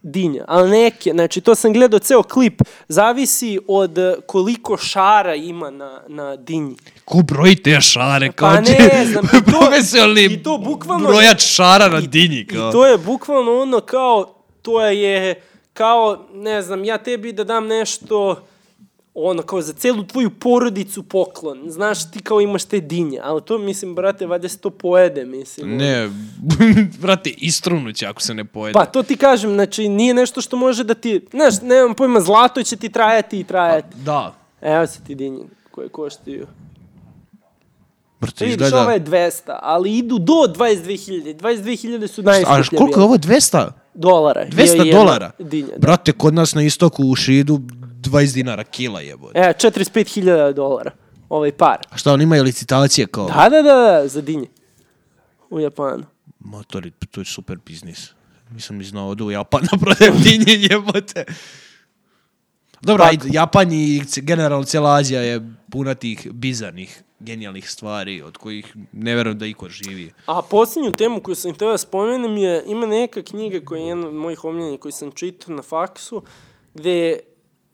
[SPEAKER 1] Dinja, ali neke, znači to sam gledao ceo klip, zavisi od e, koliko šara ima na, na dinji.
[SPEAKER 2] Ko broji te šare? Kao
[SPEAKER 1] Pa ne, znam, i to-
[SPEAKER 2] profesionalni
[SPEAKER 1] i to bukvalno-
[SPEAKER 2] brojač šara na dinji. Kao.
[SPEAKER 1] I to je bukvalno ono kao, to je kao, ne znam, ja tebi da dam nešto, ono, kao za celu tvoju porodicu poklon. Znaš, ti kao imaš te dinje, ali to, mislim, brate, valjda se to pojede, mislim.
[SPEAKER 2] Ne, brate, istrunut će ako se ne pojede.
[SPEAKER 1] Pa to ti kažem, znači nije nešto što može da ti, znaš, nemam pojma, zlato će ti trajati i trajati.
[SPEAKER 2] Da.
[SPEAKER 1] Evo se ti dinje koje koštaju.
[SPEAKER 2] Brate,
[SPEAKER 1] Vidiš, ova je 200, ali idu do 22.000. 22.000 su
[SPEAKER 2] A
[SPEAKER 1] najskuplje
[SPEAKER 2] koliko je
[SPEAKER 1] bile.
[SPEAKER 2] ovo? 200?
[SPEAKER 1] Dolara. je
[SPEAKER 2] 200
[SPEAKER 1] jedna
[SPEAKER 2] dolara?
[SPEAKER 1] Dinja, da.
[SPEAKER 2] Brate, kod nas na istoku u Šidu 20 dinara kila jebote.
[SPEAKER 1] E, 45.000 dolara. Ovaj par.
[SPEAKER 2] A šta, oni imaju licitacije kao?
[SPEAKER 1] Da, da, da, da, za dinje. U Japanu.
[SPEAKER 2] Motori, Pa to je super biznis. Nisam ni znao pa da u Japan da prodajem dinje jebote. Dobro,
[SPEAKER 1] Pa-
[SPEAKER 2] ajde, Japan i c- generalno cijela Azija je puna tih bizarnih, genijalnih stvari od kojih ne verujem da iko živi.
[SPEAKER 1] A posljednju temu koju sam htio da spomenem je, ima neka knjiga koja je jedna od mojih omiljenih koju sam čitao na faksu, gde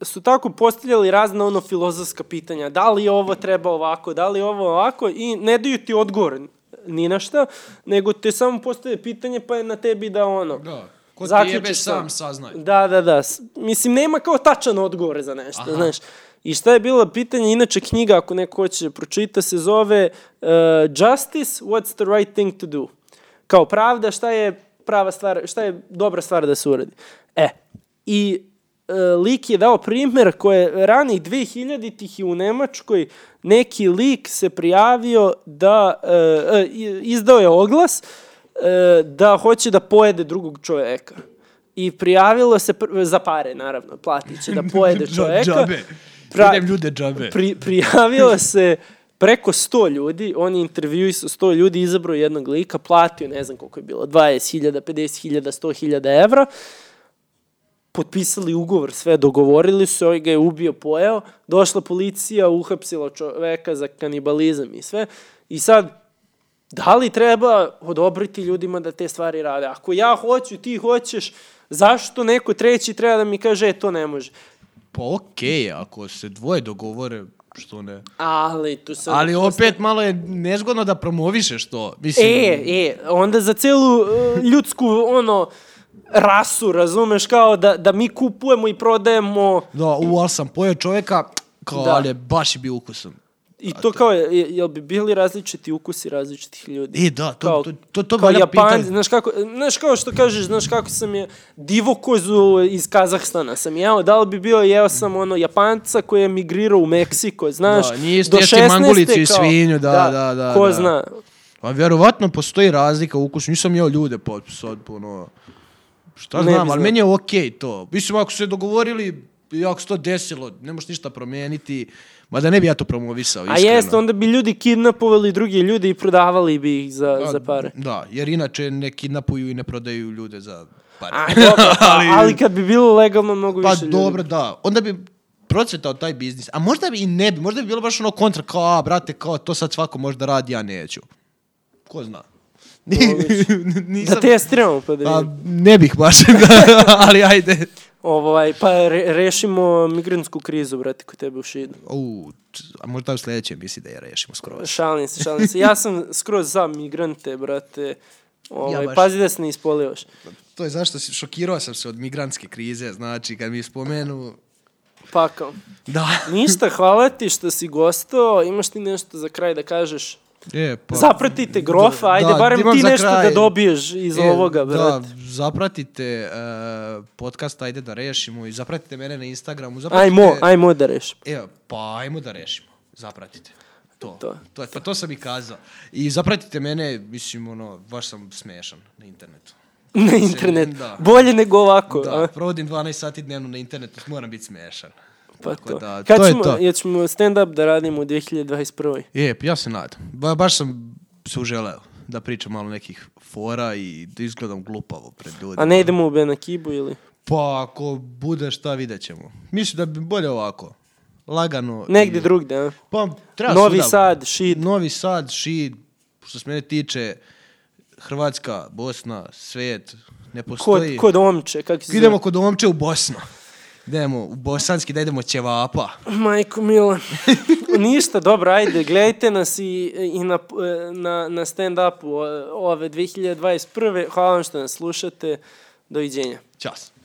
[SPEAKER 1] su tako postavljali razna ono filozofska pitanja, da li ovo treba ovako, da li ovo ovako, i ne daju ti odgovor ni na šta, nego te samo postavlja pitanje pa je na tebi da ono...
[SPEAKER 2] Ko ti
[SPEAKER 1] zaključiš
[SPEAKER 2] jebe
[SPEAKER 1] sam.
[SPEAKER 2] sam saznaj.
[SPEAKER 1] Da, da, da. S- Mislim, nema kao tačan odgovor za nešto, znaš. I šta je bilo pitanje, inače knjiga, ako neko hoće da pročita, se zove uh, Justice, what's the right thing to do? Kao pravda, šta je prava stvar, šta je dobra stvar da se uradi? E, i e, lik je dao primjer koje ranih 2000-ih i u Nemačkoj neki lik se prijavio da, e, e, i- izdao je oglas e, da hoće da pojede drugog čoveka. I prijavilo se pr- za pare, naravno, platit će da pojede
[SPEAKER 2] Dža-
[SPEAKER 1] čoveka.
[SPEAKER 2] Džabe.
[SPEAKER 1] Pra-
[SPEAKER 2] Idem ljude džabe.
[SPEAKER 1] Pri, prijavilo se preko 100 ljudi, on je intervjui sa 100 ljudi, izabrao jednog lika, platio, ne znam koliko je bilo, 20.000, 50.000, 100.000 evra, potpisali ugovor, sve dogovorili su, ovaj ga je ubio, pojeo, došla policija, uhapsila čoveka za kanibalizam i sve, i sad da li treba odobriti ljudima da te stvari rade? Ako ja hoću, ti hoćeš, zašto neko treći treba da mi kaže, e, to ne može?
[SPEAKER 2] Pa okej, ako se dvoje dogovore, što ne.
[SPEAKER 1] Ali tu sam...
[SPEAKER 2] Ali opet malo je nezgodno da promovišeš to. Mislim,
[SPEAKER 1] E, e, onda za celu e, ljudsku, ono, rasu, razumeš, kao da, da mi kupujemo i prodajemo
[SPEAKER 2] Da, u, ali sam pojeo čovjeka, kao,
[SPEAKER 1] Da.
[SPEAKER 2] ali je baš je bio ukusan.
[SPEAKER 1] i to kao, je- je- jel bi bili različiti ukusi različitih ljudi?
[SPEAKER 2] E, da, to,
[SPEAKER 1] Kao-
[SPEAKER 2] to, to, to
[SPEAKER 1] kao
[SPEAKER 2] valja
[SPEAKER 1] Japanci,
[SPEAKER 2] pitanje.
[SPEAKER 1] znaš kako, znaš kao što kažeš, znaš kako sam je divo kozu iz Kazahstana sam jeo, da li bi bio jeo sam ono Japanca koji je migrirao u Meksiko, znaš,
[SPEAKER 2] Da, nije isto
[SPEAKER 1] do
[SPEAKER 2] jesti
[SPEAKER 1] 16.
[SPEAKER 2] mangulicu i
[SPEAKER 1] kao-
[SPEAKER 2] svinju, da, da, da,
[SPEAKER 1] Ko
[SPEAKER 2] da.
[SPEAKER 1] zna,
[SPEAKER 2] Pa vjerovatno postoji razlika u ukusu, nisam jeo ljude pa sad, ono, šta
[SPEAKER 1] Ne bi
[SPEAKER 2] znam,
[SPEAKER 1] znao.
[SPEAKER 2] ali meni je okej to. Mislim, ako su se dogovorili i ako se to desilo, ne možeš ništa promijeniti, mada ne bi ja to promovisao,
[SPEAKER 1] a
[SPEAKER 2] iskreno.
[SPEAKER 1] jeste, onda bi ljudi kidnapovali druge ljude i prodavali bi ih za, za pare.
[SPEAKER 2] Pa, Da, jer inače ne kidnapuju i ne prodaju ljude za pare.
[SPEAKER 1] A, dobro, ali... ali kad bi bilo legalno mnogo
[SPEAKER 2] pa
[SPEAKER 1] više ljudi.
[SPEAKER 2] dobro, da. Onda bi procvetao taj biznis. A možda bi i ne bi, možda bi bilo baš ono kontra, kao, a, brate, kao, to sad svako možda radi, ja neću. Ko zna. Nisam...
[SPEAKER 1] Da testiramo pa da
[SPEAKER 2] Pa
[SPEAKER 1] vidimo.
[SPEAKER 2] ne bih baš, ali ajde.
[SPEAKER 1] Ovaj, pa re, rešimo migrantsku krizu, brate, kod tebe u Šidu.
[SPEAKER 2] U, č- a možda u sljedećoj misli da je rešimo skroz.
[SPEAKER 1] Šalim se, šalim se. Ja sam skroz za migrante, brate. Ovaj,
[SPEAKER 2] Ja baš.
[SPEAKER 1] pazi da se ne ispolivaš.
[SPEAKER 2] To je zašto si, šokirao sam se od migrantske krize, znači kad mi spomenu...
[SPEAKER 1] Pakao.
[SPEAKER 2] Da.
[SPEAKER 1] Ništa, hvala ti što si gostao. Imaš ti nešto za kraj da kažeš?
[SPEAKER 2] E, pa...
[SPEAKER 1] Zapratite grofa,
[SPEAKER 2] Da,
[SPEAKER 1] ajde, barem
[SPEAKER 2] imam
[SPEAKER 1] ti
[SPEAKER 2] za
[SPEAKER 1] nešto
[SPEAKER 2] kraj.
[SPEAKER 1] da dobiješ iz
[SPEAKER 2] E,
[SPEAKER 1] ovoga,
[SPEAKER 2] Da,
[SPEAKER 1] brate.
[SPEAKER 2] zapratite e, podcast Ajde da rešimo i zapratite mene na Instagramu. Zapratite,
[SPEAKER 1] Ajmo, ajmo da rešimo.
[SPEAKER 2] E, pa ajmo da rešimo. Zapratite. To.
[SPEAKER 1] To.
[SPEAKER 2] to. je- pa to sam i kazao. I zapratite mene, mislim, ono, baš sam smešan na internetu.
[SPEAKER 1] Na internet.
[SPEAKER 2] da.
[SPEAKER 1] Bolje nego ovako. a?
[SPEAKER 2] Da, provodim 12 sati dnevno na internetu, moram biti smešan.
[SPEAKER 1] Pa
[SPEAKER 2] Tako
[SPEAKER 1] to.
[SPEAKER 2] da,
[SPEAKER 1] Kad
[SPEAKER 2] to je
[SPEAKER 1] ćemo,
[SPEAKER 2] to.
[SPEAKER 1] jel ćemo stand-up da radimo u 2021.
[SPEAKER 2] Je, pa ja se nadam. Ba, baš sam se uželeo da pričam malo nekih fora i da izgledam glupavo pred ljudima.
[SPEAKER 1] A ne idemo u Benakibu ili...
[SPEAKER 2] Pa ako bude šta vidjet ćemo. Mislim da bi bolje ovako. Lagano.
[SPEAKER 1] Negdje
[SPEAKER 2] i-
[SPEAKER 1] drugde, a?
[SPEAKER 2] Pa treba
[SPEAKER 1] Novi
[SPEAKER 2] svuda.
[SPEAKER 1] Sad, shit.
[SPEAKER 2] Novi Sad, šid. Što se mene tiče, Hrvatska, Bosna, svet, ne
[SPEAKER 1] Kod,
[SPEAKER 2] postoji.
[SPEAKER 1] kod omče, kako se
[SPEAKER 2] Idemo kod omče u Bosnu. Idemo u bosanski, da idemo ćevapa.
[SPEAKER 1] zove? Majko mila. Ništa, dobro, ajde, gledajte nas i, i na, na, na stand-upu o- ove 2021. Hvala vam što nas slušate. Doviđenja.
[SPEAKER 2] Ćas.